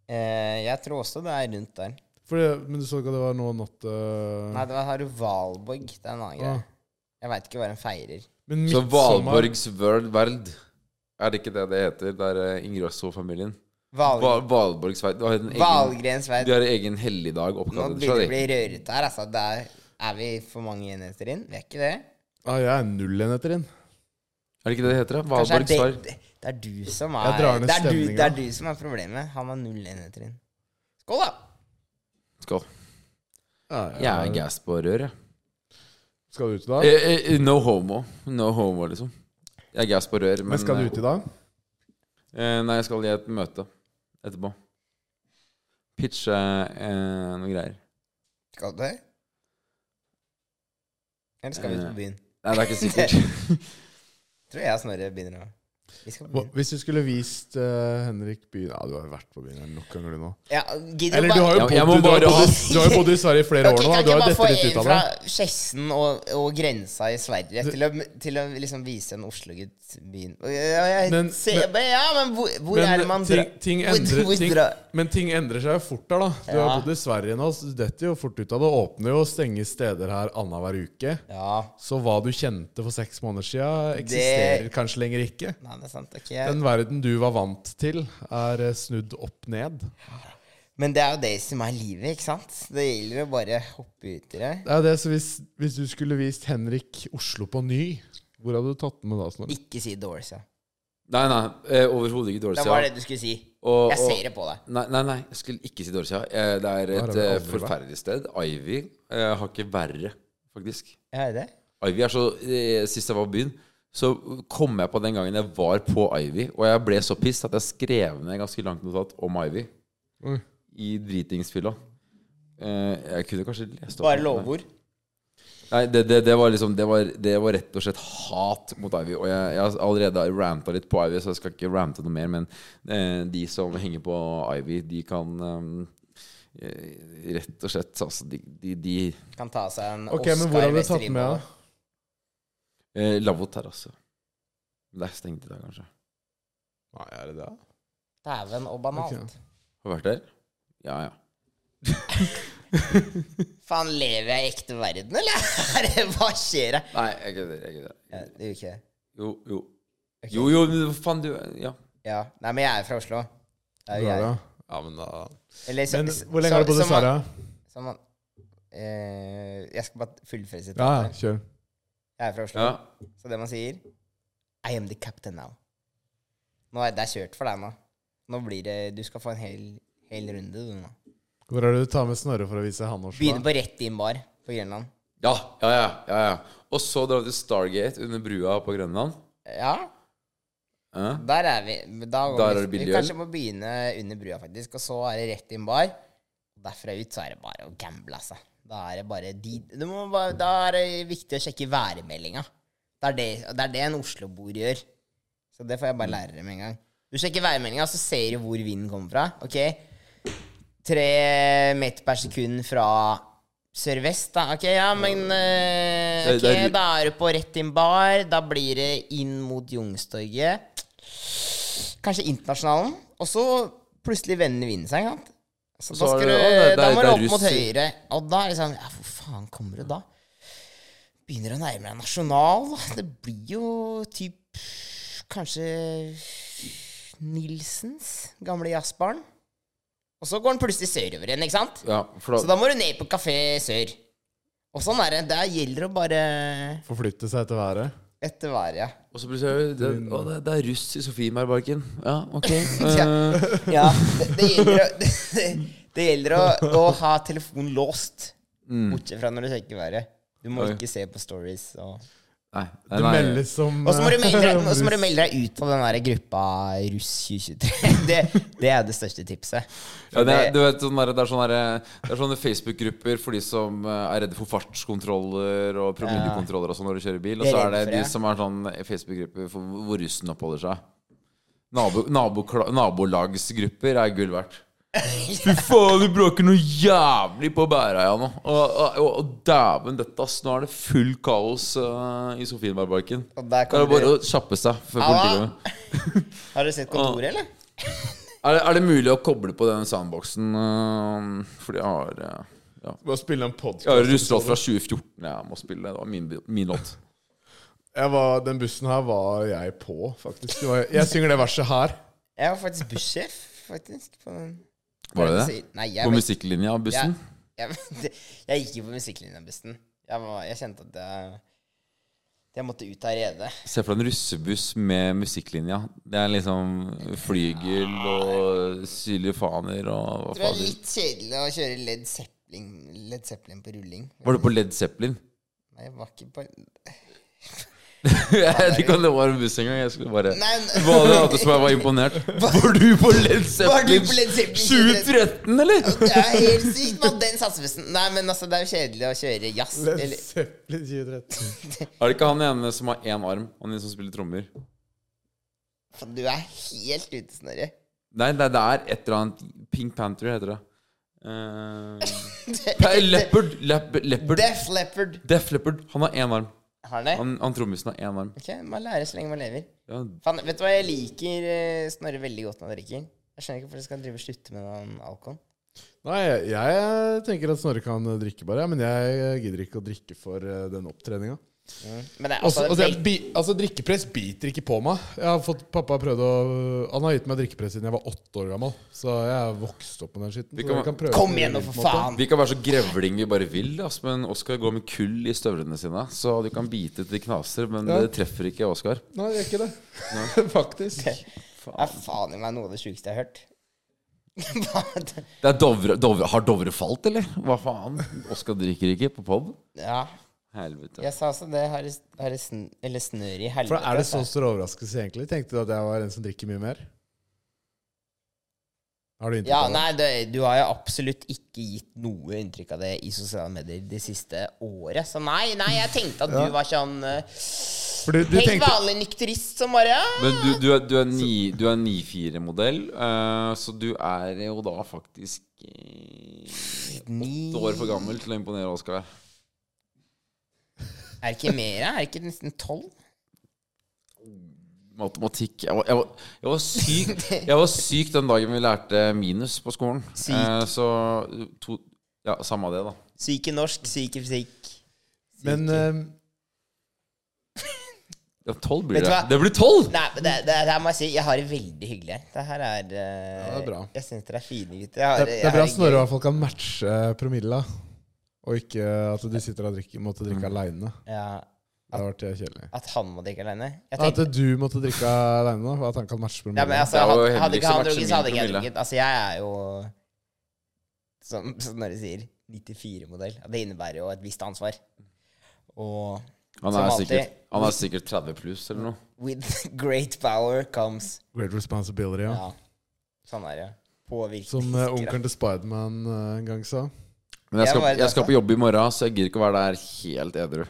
Speaker 2: Eh, jeg tror også det er rundt der.
Speaker 4: Mm. Fordi- Men du så ikke at det var nå natt eh,
Speaker 2: Nei, det var Haru Valborg. Det er en annen
Speaker 4: ah.
Speaker 2: greie. Jeg veit ikke hva den feirer.
Speaker 4: Men
Speaker 3: Så
Speaker 4: midtsommer-
Speaker 3: Valborgs world, world Er det ikke det det heter? Det er eh, Ingrosso-familien.
Speaker 2: Val
Speaker 3: Val Valborgs world. Du har en egen,
Speaker 2: Valgrens vei.
Speaker 3: de har en egen helligdag
Speaker 2: Nå
Speaker 3: oppkalt
Speaker 2: begynner det
Speaker 3: etter
Speaker 2: å
Speaker 3: seg.
Speaker 2: bli rørete her. Altså, det er, er vi for mange enheter inn? Vi er ikke det.
Speaker 4: Ja, jeg er null enheter inn.
Speaker 3: de. Er det ikke det det heter? da?
Speaker 2: Kanskje
Speaker 3: Valborgs
Speaker 2: er
Speaker 3: world.
Speaker 2: det, det er du som
Speaker 4: Jeg
Speaker 2: er
Speaker 4: drar ned
Speaker 2: det er, du,
Speaker 4: stemninga.
Speaker 2: det er du som er problemet. Han har null enheter inn. Skål, da!
Speaker 3: Skål.
Speaker 4: Ja,
Speaker 3: Jeg er gass på rør, jeg.
Speaker 4: Skal du ut i dag?
Speaker 3: Eh, eh, No homo. No homo, liksom. Jeg er gass på rør, men
Speaker 4: Men eh, skal du ut i dag?
Speaker 3: Eh, nei, jeg skal i et møte etterpå. Pitche eh, noen greier.
Speaker 2: Skal du det? Eller skal vi
Speaker 3: Eh.
Speaker 2: ut på byen?
Speaker 3: Nei, det er ikke sikkert.
Speaker 2: Tror jeg og Snorre begynner å Vi skal på
Speaker 4: Hva-
Speaker 2: byen.
Speaker 4: Hvis du skulle vist eh, Henrik byen Ja, du har jo vært på byen her nok ganger, du nå.
Speaker 2: Ja, gidder
Speaker 4: Eller
Speaker 2: bare-
Speaker 4: du har jo
Speaker 3: Jeg-
Speaker 4: bodd,
Speaker 3: jeg
Speaker 4: du
Speaker 3: må
Speaker 4: har
Speaker 3: bare
Speaker 4: bodd,
Speaker 3: ha-
Speaker 4: i- du har jo bodd i Sverige i flere
Speaker 2: Ok, kan
Speaker 4: år nå. da. Du
Speaker 2: ikke
Speaker 4: har jo
Speaker 2: man få
Speaker 4: dette litt
Speaker 2: en
Speaker 4: ut av
Speaker 2: fra
Speaker 4: det.
Speaker 2: Skjessen og, og grensa i Sverige til å, til å liksom vise en Oslo-gutt byen? Og Jeg, jeg, jeg,
Speaker 4: Men-
Speaker 2: ser, ja, men hvor, hvor er det
Speaker 4: Men
Speaker 2: man
Speaker 4: ting,
Speaker 2: drar?
Speaker 4: ting,
Speaker 2: Hvor-
Speaker 4: endrer,
Speaker 2: hvor
Speaker 4: ting,
Speaker 2: drar-
Speaker 4: men ting endrer seg jo fort her, da. Du har
Speaker 2: Ja.
Speaker 4: bodd i Sverige nå, så du detter jo fort ut av det. Åpner jo og stenger steder her annenhver uke.
Speaker 2: Ja,
Speaker 4: Så hva du kjente for seks måneder siden eksisterer
Speaker 2: Det-
Speaker 4: kanskje lenger ikke.
Speaker 2: nei, det er sant. ok.
Speaker 4: Den verden du var vant til, er eh, snudd opp ned.
Speaker 2: Men det er jo det som er livet, ikke sant? Det gjelder å bare hoppe ut i det.
Speaker 4: Det er det, så hvis, hvis du skulle vist Henrik Oslo på ny, hvor hadde du tatt den med da, Snorre?
Speaker 2: Ikke si Doors, ja.
Speaker 3: Nei, nei. Eh, Overhodet ikke dårlig
Speaker 2: Det var det du skulle si.
Speaker 3: Og-
Speaker 2: Jeg
Speaker 3: og-
Speaker 2: ser det på deg.
Speaker 3: Nei, nei, nei, jeg skulle ikke si dårlig sida. Eh, det er
Speaker 4: har
Speaker 3: et
Speaker 4: vi
Speaker 3: eh,
Speaker 4: aldri vært.
Speaker 3: forferdelig sted. Ivy eh, har ikke verre, faktisk.
Speaker 2: Er det?
Speaker 3: Ivy er så eh, Sist jeg var på byen, så kom jeg på den gangen jeg var på Ivy, og jeg ble så pissed at jeg skrev ned ganske langt notat om Ivy
Speaker 4: Oi.
Speaker 3: i dritingsfylla. Eh, jeg kunne kanskje lest opp
Speaker 2: Bare
Speaker 3: noe.
Speaker 2: lovord.
Speaker 3: Nei, det, det, det var liksom det var, det var rett og slett hat mot Ivy. Og jeg, jeg har allerede ranta litt på Ivy, så jeg skal ikke rante noe mer. Men eh, de som henger på Ivy, de kan eh, eh, rett og slett altså, De, de, de
Speaker 2: Kan ta seg en
Speaker 4: Ok,
Speaker 2: Oscar
Speaker 4: men hvor hadde du tatt
Speaker 2: Westerlin
Speaker 4: med
Speaker 2: på.
Speaker 4: da?
Speaker 3: eh, Lavvo terrasse. Det er stengt i dag, kanskje.
Speaker 4: Nei, er det det?
Speaker 2: Dæven og banalt.
Speaker 4: Ok.
Speaker 3: Har du vært der? Ja, ja.
Speaker 2: Faen, lever jeg i ekte verden, eller? Er det- Hva skjer her?
Speaker 3: Nei, jeg kødder. Jeg kødder.
Speaker 2: Ja, det gjør ikke det.
Speaker 3: Jo, jo. Jo, jo, men hva faen, du Ja.
Speaker 2: Ja. Nei, men jeg er fra Oslo. Det er jo jeg.
Speaker 4: Ja, men da
Speaker 2: Eller så-
Speaker 4: Men
Speaker 2: så-
Speaker 4: hvor lenge har du bodd i
Speaker 2: som han-
Speaker 4: Sverige?
Speaker 2: som han- eh, jeg skal bare fullføre sitt.
Speaker 4: Ja, ja, kjør.
Speaker 2: Jeg er fra Oslo.
Speaker 3: ja.
Speaker 2: Så det man sier I am the captain now. Nå er det er kjørt for deg nå. Nå blir det Du skal få en hel, hel runde, du nå.
Speaker 4: Hvor er det du tar med Snorre for å vise han Oslo?
Speaker 2: Begynner på rett inn bar på Grønland.
Speaker 3: Ja, ja, ja, ja, ja. Og så drar vi til Stargate under brua på Grønland.
Speaker 2: Ja,
Speaker 3: Ja.
Speaker 2: der er vi. Da går
Speaker 3: Der
Speaker 2: vi-
Speaker 3: er det billig
Speaker 2: vi kanskje må begynne under brua, faktisk. Og så er det rett inn bar. Derfra ut så er det bare å gamble, altså. Da er det bare de du må bare, Da er det viktig å sjekke værmeldinga. Det er det, det er det en Oslo-boer gjør. Så det får jeg
Speaker 3: Mm.
Speaker 2: bare lære dem en gang. Du sjekker værmeldinga, så ser du hvor vinden kommer fra. Ok? Tre meter per sekund fra sørvest, da. Ok, ja, men eh,
Speaker 3: Mm. Det-
Speaker 2: Ok,
Speaker 3: det er-
Speaker 2: da er du på rett inn bar. Da blir det inn mot Youngstorget. Kanskje Internasjonalen. Og så plutselig vender vinden seg, ikke sant. Så
Speaker 3: Så
Speaker 2: da,
Speaker 3: er
Speaker 2: skal
Speaker 3: det-
Speaker 2: du,
Speaker 3: å, det er-
Speaker 2: da må
Speaker 3: det
Speaker 2: du
Speaker 3: er
Speaker 2: opp mot
Speaker 3: russ-
Speaker 2: høyre. Og da er det sånn Ja, hvor faen kommer du da? Begynner å nærme deg nasjonal. da. Det blir jo typ Kanskje Nilsens gamle jazzbarn. Og så går den plutselig sørover igjen, ikke sant?
Speaker 3: ja for
Speaker 2: Så
Speaker 3: da,
Speaker 2: da må du ned på Kafé Sør. Og sånn er det. Der gjelder det å bare
Speaker 4: Forflytte seg etter været?
Speaker 2: etter været, ja.
Speaker 3: og så plutselig er det, det, å, det, det er russ i Sofienbergparken. Ja, ok.
Speaker 2: Ja.
Speaker 3: Eh,
Speaker 2: ja det, det gjelder, å, det, det gjelder å, å ha telefonen låst, bortsett fra når du sjekker været. Du må
Speaker 3: Mm. Oi.
Speaker 2: ikke se på stories. Og
Speaker 3: nei, nei,
Speaker 4: Du
Speaker 3: nei.
Speaker 4: meldes som
Speaker 2: Og så må du melde deg,
Speaker 4: eh,
Speaker 2: og så må du melde deg ut av den der gruppa Russ 2023. Det, det er det største tipset.
Speaker 3: Ja, det, er-
Speaker 2: det,
Speaker 3: du vet, sånn der, det er sånne, der- det er sånne Facebook-grupper for de som eh, er redde for fartskontroller og promillekontroller og sånn når du kjører bil. Og
Speaker 2: De er
Speaker 3: så er
Speaker 2: redde
Speaker 3: det
Speaker 2: for
Speaker 3: de
Speaker 2: det.
Speaker 3: som er sånn Facebook-grupper for hvor russen oppholder seg. Nabo, nabokla- nabolagsgrupper er gull verdt. Fy faen, du bråker noe jævlig på Bæreia nå. Og, og, og, og dæven døtte, ass. Nå er det full kaos eh, i Sofienbergparken.
Speaker 2: Og
Speaker 3: Det
Speaker 2: der
Speaker 3: er
Speaker 2: kommer
Speaker 3: det bare
Speaker 2: du-
Speaker 3: å kjappe seg før
Speaker 2: Halla!
Speaker 3: politiet kommer.
Speaker 2: Har du sett kontoret, eller?
Speaker 3: Er det, er det mulig å koble på den soundboxen? øh, fordi jeg har øh, ja.
Speaker 4: Bare spille en podcast
Speaker 3: Jeg har russelåt fra 2014 jeg må spille. Det var min, min låt.
Speaker 4: Jeg var, den bussen her var jeg på, faktisk. Det var, jeg synger det verset her.
Speaker 2: Jeg var faktisk bussjef, faktisk. På den.
Speaker 3: Var det det?
Speaker 2: Nei, jeg
Speaker 3: På
Speaker 2: vet-
Speaker 3: musikklinja av bussen?
Speaker 2: Jeg, jeg, jeg gikk jo på musikklinjebussen. Jeg, var- jeg kjente at jeg, at jeg måtte ut av redet.
Speaker 3: Se for deg en russebuss med musikklinja. Det er liksom flygel og sylifaner og hva
Speaker 2: Det var
Speaker 3: fader.
Speaker 2: litt kjedelig å kjøre Led Zeppelin, Led Zeppelin på rulling.
Speaker 3: Var du på Led Zeppelin?
Speaker 2: Nei, jeg var ikke på Nei,
Speaker 3: Jeg vet ikke om det var en buss engang. Jeg skulle bare
Speaker 2: n-
Speaker 3: Hva var det andre som jeg var imponert? Var du på Led Zeppelin
Speaker 2: Led Zeppelin
Speaker 3: 2013, eller?
Speaker 2: Det er helt sykt, mann! Den satsebussen. Nei, men altså, det er jo kjedelig å kjøre jazz.
Speaker 4: Led
Speaker 2: Eller,
Speaker 4: Zeppelin 2013.
Speaker 3: Er det ikke han ene som har én arm? Han ene som spiller trommer?
Speaker 2: Faen, du er helt ute, Snorre.
Speaker 3: Nei, det, det er et eller annet Pink Panther heter det. Uh, Leopard, Leopard, Leopard.
Speaker 2: Def Leppard.
Speaker 3: Def Leopard. Han har én arm.
Speaker 2: Har han det?
Speaker 3: Han, han trommisen har én arm.
Speaker 2: Ok, man lærer så lenge man lever.
Speaker 3: Ja,
Speaker 2: Faen, vet du hva jeg liker eh, Snorre veldig godt når han drikker? Jeg skjønner ikke hvorfor jeg skal drive og slutte med den alkoholen.
Speaker 4: Nei, jeg, jeg tenker at Snorre kan eh, drikke bare, ja, men jeg eh, gidder ikke å drikke for eh, den opptreninga.
Speaker 2: Men det er
Speaker 4: Altså,
Speaker 2: altså,
Speaker 4: altså, jeg
Speaker 2: vel-
Speaker 4: bi- altså, drikkepress biter ikke på meg. Jeg har fått, pappa har prøvd å Han har gitt meg drikkepress siden jeg var åtte år gammel. Så jeg har vokst opp med den skitten.
Speaker 3: Vi
Speaker 4: så
Speaker 3: kan-
Speaker 4: jeg kan prøve
Speaker 2: Kom
Speaker 4: på
Speaker 2: igjen nå,
Speaker 4: min
Speaker 2: for
Speaker 4: måte.
Speaker 2: faen!
Speaker 3: Vi kan være så grevling vi bare vil, ass, men Oskar går med kull i støvlene sine. Så du kan bite til de knaser, men
Speaker 4: Ja.
Speaker 3: det treffer ikke Oskar.
Speaker 4: Nei, det gjør ikke det. Faktisk.
Speaker 2: Det er faen i meg noe av det sjukeste jeg har hørt. Bare-
Speaker 3: Det er Dovre, Dovre, har Dovre falt, eller? Hva faen? Oskar drikker ikke på pod.
Speaker 2: ja,
Speaker 3: Helvete.
Speaker 2: jeg sa også det. Har det- har det sn eller snør i helvete.
Speaker 4: For er det sånn så
Speaker 2: altså.
Speaker 4: stor overraskelse, egentlig? Tenkte du at jeg var en som drikker mye mer? Har du inntrykk
Speaker 2: Ja,
Speaker 4: av det?
Speaker 2: nei, det, du har jo absolutt ikke gitt noe inntrykk av det i sosiale medier det siste året. Så nei, nei, jeg tenkte at du var sånn eh,
Speaker 4: For du, du
Speaker 2: helt
Speaker 4: tenkte
Speaker 2: vanlig nykterist som bare ja.
Speaker 3: Men du, du, er- du er ni- du er 9-4-modell, eh, så du er jo da faktisk eh,
Speaker 2: Ni-
Speaker 3: åtte år for gammel til å imponere Oskar.
Speaker 2: Er det ikke mer? da? Er det ikke nesten tolv?
Speaker 3: Matematikk jeg var, jeg, var, jeg, var syk, jeg var syk den dagen vi lærte minus på skolen.
Speaker 2: Syk.
Speaker 3: Eh, så Eh, to, Ja, samme det, da.
Speaker 2: Syk i norsk, syk i fysikk.
Speaker 4: Men eh,
Speaker 3: Ja, 12 blir
Speaker 2: Vet
Speaker 3: det.
Speaker 2: du hva?
Speaker 3: Det blir 12!
Speaker 2: Nei, men det, det, det her må jeg si, jeg har det veldig hyggelig her. Det her er eh,
Speaker 4: Ja, det er bra.
Speaker 2: Jeg syns dere er fine gutter. Jeg har,
Speaker 4: det, det
Speaker 2: jeg
Speaker 4: er bra
Speaker 2: har
Speaker 4: at Snorre i hvert fall kan matche eh, promilla, og ikke at du sitter og drikker, måtte drikke aleine.
Speaker 2: gøy. Ja,
Speaker 4: Det har vært eh, kjedelig.
Speaker 2: at han må drikke alene. Jeg
Speaker 4: At
Speaker 2: tenkte,
Speaker 4: eh, du måtte drikke aleine, og at han kan matche
Speaker 2: ja, men
Speaker 4: promilla.
Speaker 2: altså,
Speaker 3: Det er jo Henrik
Speaker 2: hadde, hadde ikke
Speaker 3: som matcher
Speaker 2: han drukket, så hadde
Speaker 3: min
Speaker 2: ikke jeg
Speaker 3: promille.
Speaker 2: drukket. Altså, jeg er jo, som som Snorre sier, 94-modell. Det innebærer jo et visst ansvar. Og
Speaker 3: Han
Speaker 2: Som
Speaker 3: er
Speaker 2: alltid.
Speaker 3: sikkert, han er sikkert 30 pluss eller noe.
Speaker 2: with great power comes
Speaker 4: Great responsibility, ja.
Speaker 2: Ja. Sånn er det.
Speaker 4: Som eh, onkelen til Spiderman uh, en gang sa.
Speaker 3: Men jeg
Speaker 2: Jeg
Speaker 3: skal,
Speaker 2: må være
Speaker 3: jeg skal
Speaker 2: dette.
Speaker 3: på jobb i morgen, så jeg gidder ikke å være der helt edru.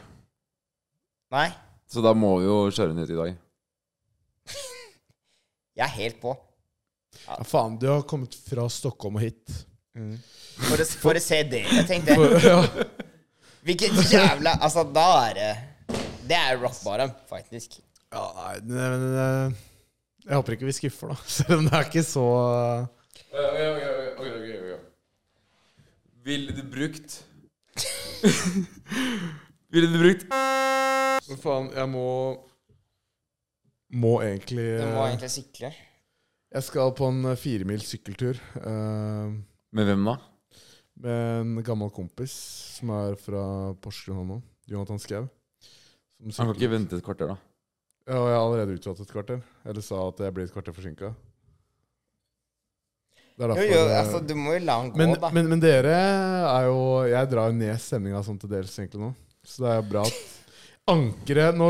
Speaker 2: Nei,
Speaker 3: Så da må vi jo kjøre ned i dag.
Speaker 2: jeg er helt på.
Speaker 4: Ja, faen, du har kommet fra Stockholm og hit.
Speaker 2: Mm. For å, for å se det. Jeg tenkte
Speaker 4: For, ja.
Speaker 2: Hvilket jævla Altså, da er det Det er rock bottom, faktisk.
Speaker 4: ja, nei, men eh, Jeg håper ikke vi skuffer, da. Selv om det er ikke så eh,
Speaker 3: Ville du brukt Ville du brukt
Speaker 4: Men faen, jeg må Må egentlig
Speaker 2: Du må
Speaker 4: eh,
Speaker 2: egentlig sykle.
Speaker 4: Jeg skal på en eh, firemils sykkeltur eh,
Speaker 3: Med hvem da?
Speaker 4: med en gammel kompis som er fra Porsgrunn han nå. Jonathan Skau. Som
Speaker 3: Han kan
Speaker 4: sykler.
Speaker 3: ikke vente et kvarter, da.
Speaker 4: Ja, og jeg har allerede utsatt et kvarter. Eller sa at jeg blir et kvarter forsinka. Det er
Speaker 2: Jo,
Speaker 4: derfor
Speaker 2: jo,
Speaker 4: eh,
Speaker 2: altså, du må jo la han gå,
Speaker 4: men,
Speaker 2: da.
Speaker 4: men, men dere er jo Jeg drar jo ned stemninga sånn til dels egentlig nå. Så det er jo bra at ankeret Nå,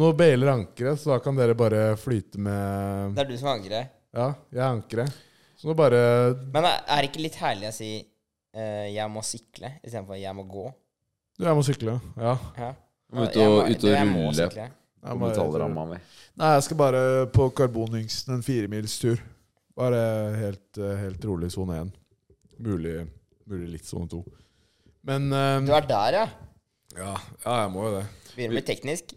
Speaker 4: nå bailer ankeret, så da kan dere bare flyte med
Speaker 2: Det er du som angrer.
Speaker 4: Ja, jeg er ankeret. Så nå bare
Speaker 2: Men er er det ikke litt herlig å si eh, 'jeg må sykle' istedenfor 'jeg må gå'?
Speaker 4: Du, jeg må sykle. Ja.
Speaker 2: Ja.
Speaker 3: Du må ut
Speaker 2: Jeg
Speaker 3: og,
Speaker 2: må-
Speaker 3: ut
Speaker 2: du,
Speaker 3: og
Speaker 2: jeg må
Speaker 3: rulle
Speaker 2: sykle.
Speaker 4: Jeg
Speaker 3: på
Speaker 4: må-
Speaker 3: metallramma mi.
Speaker 4: Nei, jeg skal bare på karbonhingsten en firemilstur. Bare helt, eh, helt rolig sone én. Mulig, mulig litt sone to. Men eh,
Speaker 2: Du er der, ja?
Speaker 4: ja, ja, jeg må jo det.
Speaker 2: Begynner å bli teknisk.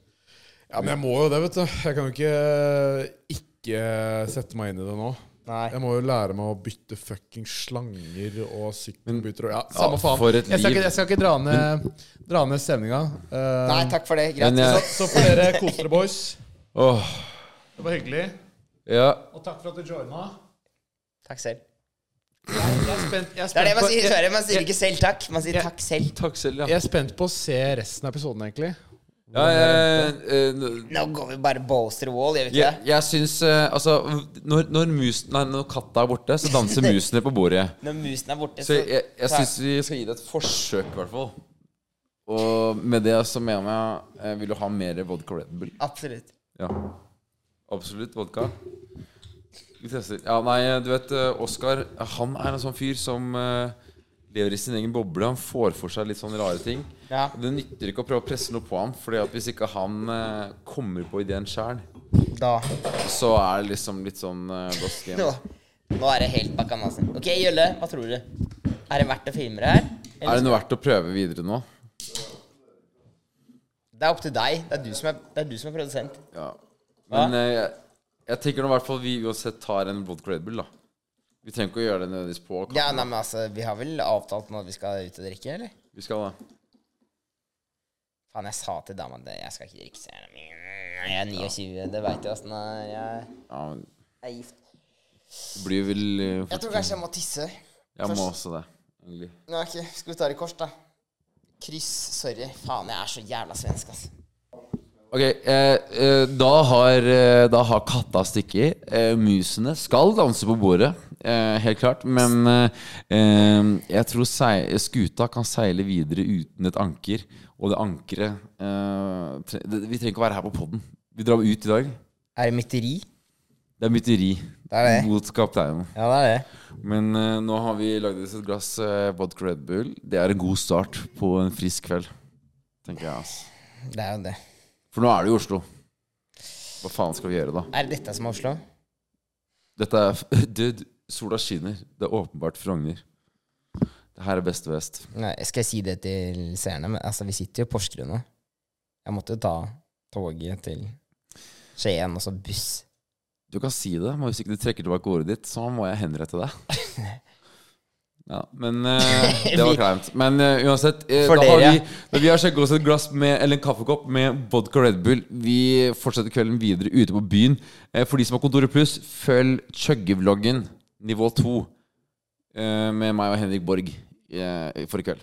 Speaker 4: Ja, Men jeg må jo det, vet du. Jeg kan jo ikke eh, ikke sette meg inn i det nå.
Speaker 2: Nei.
Speaker 4: Jeg må jo lære meg å bytte fucking slanger og sykkelbytter og Ja,
Speaker 3: Ja,
Speaker 4: samme faen.
Speaker 3: for et
Speaker 4: Jeg skal
Speaker 3: liv.
Speaker 4: ikke, jeg skal ikke dra ned, dra ned stemninga. Eh,
Speaker 2: Nei, takk for det.
Speaker 3: Men
Speaker 2: Greit.
Speaker 3: jeg-
Speaker 4: så får dere kose dere, boys.
Speaker 3: Åh,
Speaker 4: Det var hyggelig.
Speaker 3: ja.
Speaker 4: Og takk for at du joina.
Speaker 2: Takk selv.
Speaker 4: Jeg er spent, jeg
Speaker 2: Det
Speaker 4: er
Speaker 2: er
Speaker 4: spent,
Speaker 2: det man
Speaker 4: på,
Speaker 2: sier i
Speaker 4: jeg,
Speaker 2: Sverige. Man sier ikke selv takk. Man sier
Speaker 4: Jeg-
Speaker 2: takk selv.
Speaker 3: Takk selv,
Speaker 4: jeg
Speaker 3: ja.
Speaker 4: er spent på å se resten av episoden, egentlig.
Speaker 3: ja jeg, eh,
Speaker 2: Nå går vi bare balls to the wall, gjør vi ikke
Speaker 3: jeg,
Speaker 2: det?
Speaker 3: jeg syns eh, Altså, når, når, musen, nei, når katta er borte, så danser musene på bordet.
Speaker 2: Når musen er borte,
Speaker 3: Så jeg, jeg, jeg
Speaker 2: så-
Speaker 3: syns vi skal gi det et forsøk, i hvert fall. Og med det så mener jeg eh, Vil du ha mer vodka Red Bull?
Speaker 2: Absolutt.
Speaker 3: Ja. Absolutt vodka. Vi tester. Ja, nei, du vet, eh, Oskar han er en sånn fyr som eh, lever i sin egen boble. Han får for seg litt sånne rare ting.
Speaker 2: Ja.
Speaker 3: Det nytter ikke å prøve å presse noe på ham, Fordi at hvis ikke han eh, kommer på ideen sjæl,
Speaker 2: Da.
Speaker 3: så er det liksom litt sånn eh, lost game.
Speaker 2: Nå, nå er det helt bakkanasen. Ok, Jølle, hva tror du? Er det verdt å filme det her?
Speaker 3: Er
Speaker 2: Eller?
Speaker 3: det noe verdt å prøve videre nå?
Speaker 2: Det er opp til deg. Det er du som er, det er, du som er produsent.
Speaker 3: Ja. Men eh, jeg, jeg tenker nå i hvert fall vi uansett tar en vodka Red Bull, da. Vi trenger ikke å gjøre det nødvendigvis på kampen.
Speaker 2: Ja, nei, men altså, Vi har vel avtalt når vi skal ut og drikke, eller?
Speaker 3: Vi skal da.
Speaker 2: Faen, jeg sa til dama det. Jeg skal ikke drikke. så Jeg jeg er 29, det veit du åssen det er. Jeg
Speaker 3: Ja, men
Speaker 2: er gift.
Speaker 3: det blir vel eh,
Speaker 2: Jeg tror kanskje jeg må tisse.
Speaker 3: Jeg må også det. egentlig.
Speaker 2: Nei, ok, Skal vi ta det i kors, da? Kryss. Sorry. Faen, jeg er så jævla svensk, ass.
Speaker 3: Ok, eh, eh, da, har, eh, da har katta stikket. Eh, musene skal danse på bordet, eh, helt klart. Men eh, eh, jeg tror sei skuta kan seile videre uten et anker. Og det ankeret eh, tre det, Vi trenger ikke å være her på poden. Vi drar ut i dag.
Speaker 2: Er det mytteri?
Speaker 3: Det er mytteri
Speaker 2: er det.
Speaker 3: mot kapteinen.
Speaker 2: Ja, det er det.
Speaker 3: Men eh, nå har vi lagd oss et glass eh, vodka Red Bull. Det er en god start på en frisk kveld, tenker jeg. ass.
Speaker 2: Det er jo det.
Speaker 3: For nå er det jo Oslo. Hva faen skal vi gjøre, da?
Speaker 2: Er det dette som er Oslo?
Speaker 3: Dette er f- Dude, sola skinner. Det er åpenbart Frogner. Det her er beste vest.
Speaker 2: Nei, skal jeg si det til seerne? Men altså, vi sitter jo i Porsgrunn nå. Jeg måtte jo ta toget til Skien, og så buss.
Speaker 3: Du kan si det, men hvis ikke du trekker tilbake ordet ditt, så må jeg henrette deg. Ja, men eh, det var
Speaker 2: Vi-
Speaker 3: kleint. Men eh, uansett, eh,
Speaker 2: For
Speaker 3: da har
Speaker 2: dere.
Speaker 3: vi, da vi har sjekka oss et glass med, eller en kaffekopp med vodka Red Bull. Vi fortsetter kvelden videre ute på byen. Eh, for de som har Kontoret Pluss, følg Chugge-vloggen nivå 2 eh, med meg og Henrik Borg eh, for i kveld.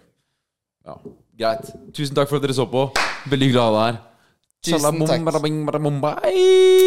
Speaker 3: Ja, Greit. Tusen takk for at dere så på. Veldig hyggelig å ha deg her.
Speaker 2: Tusen takk.
Speaker 3: Shalabom, barabing, barabom, bye.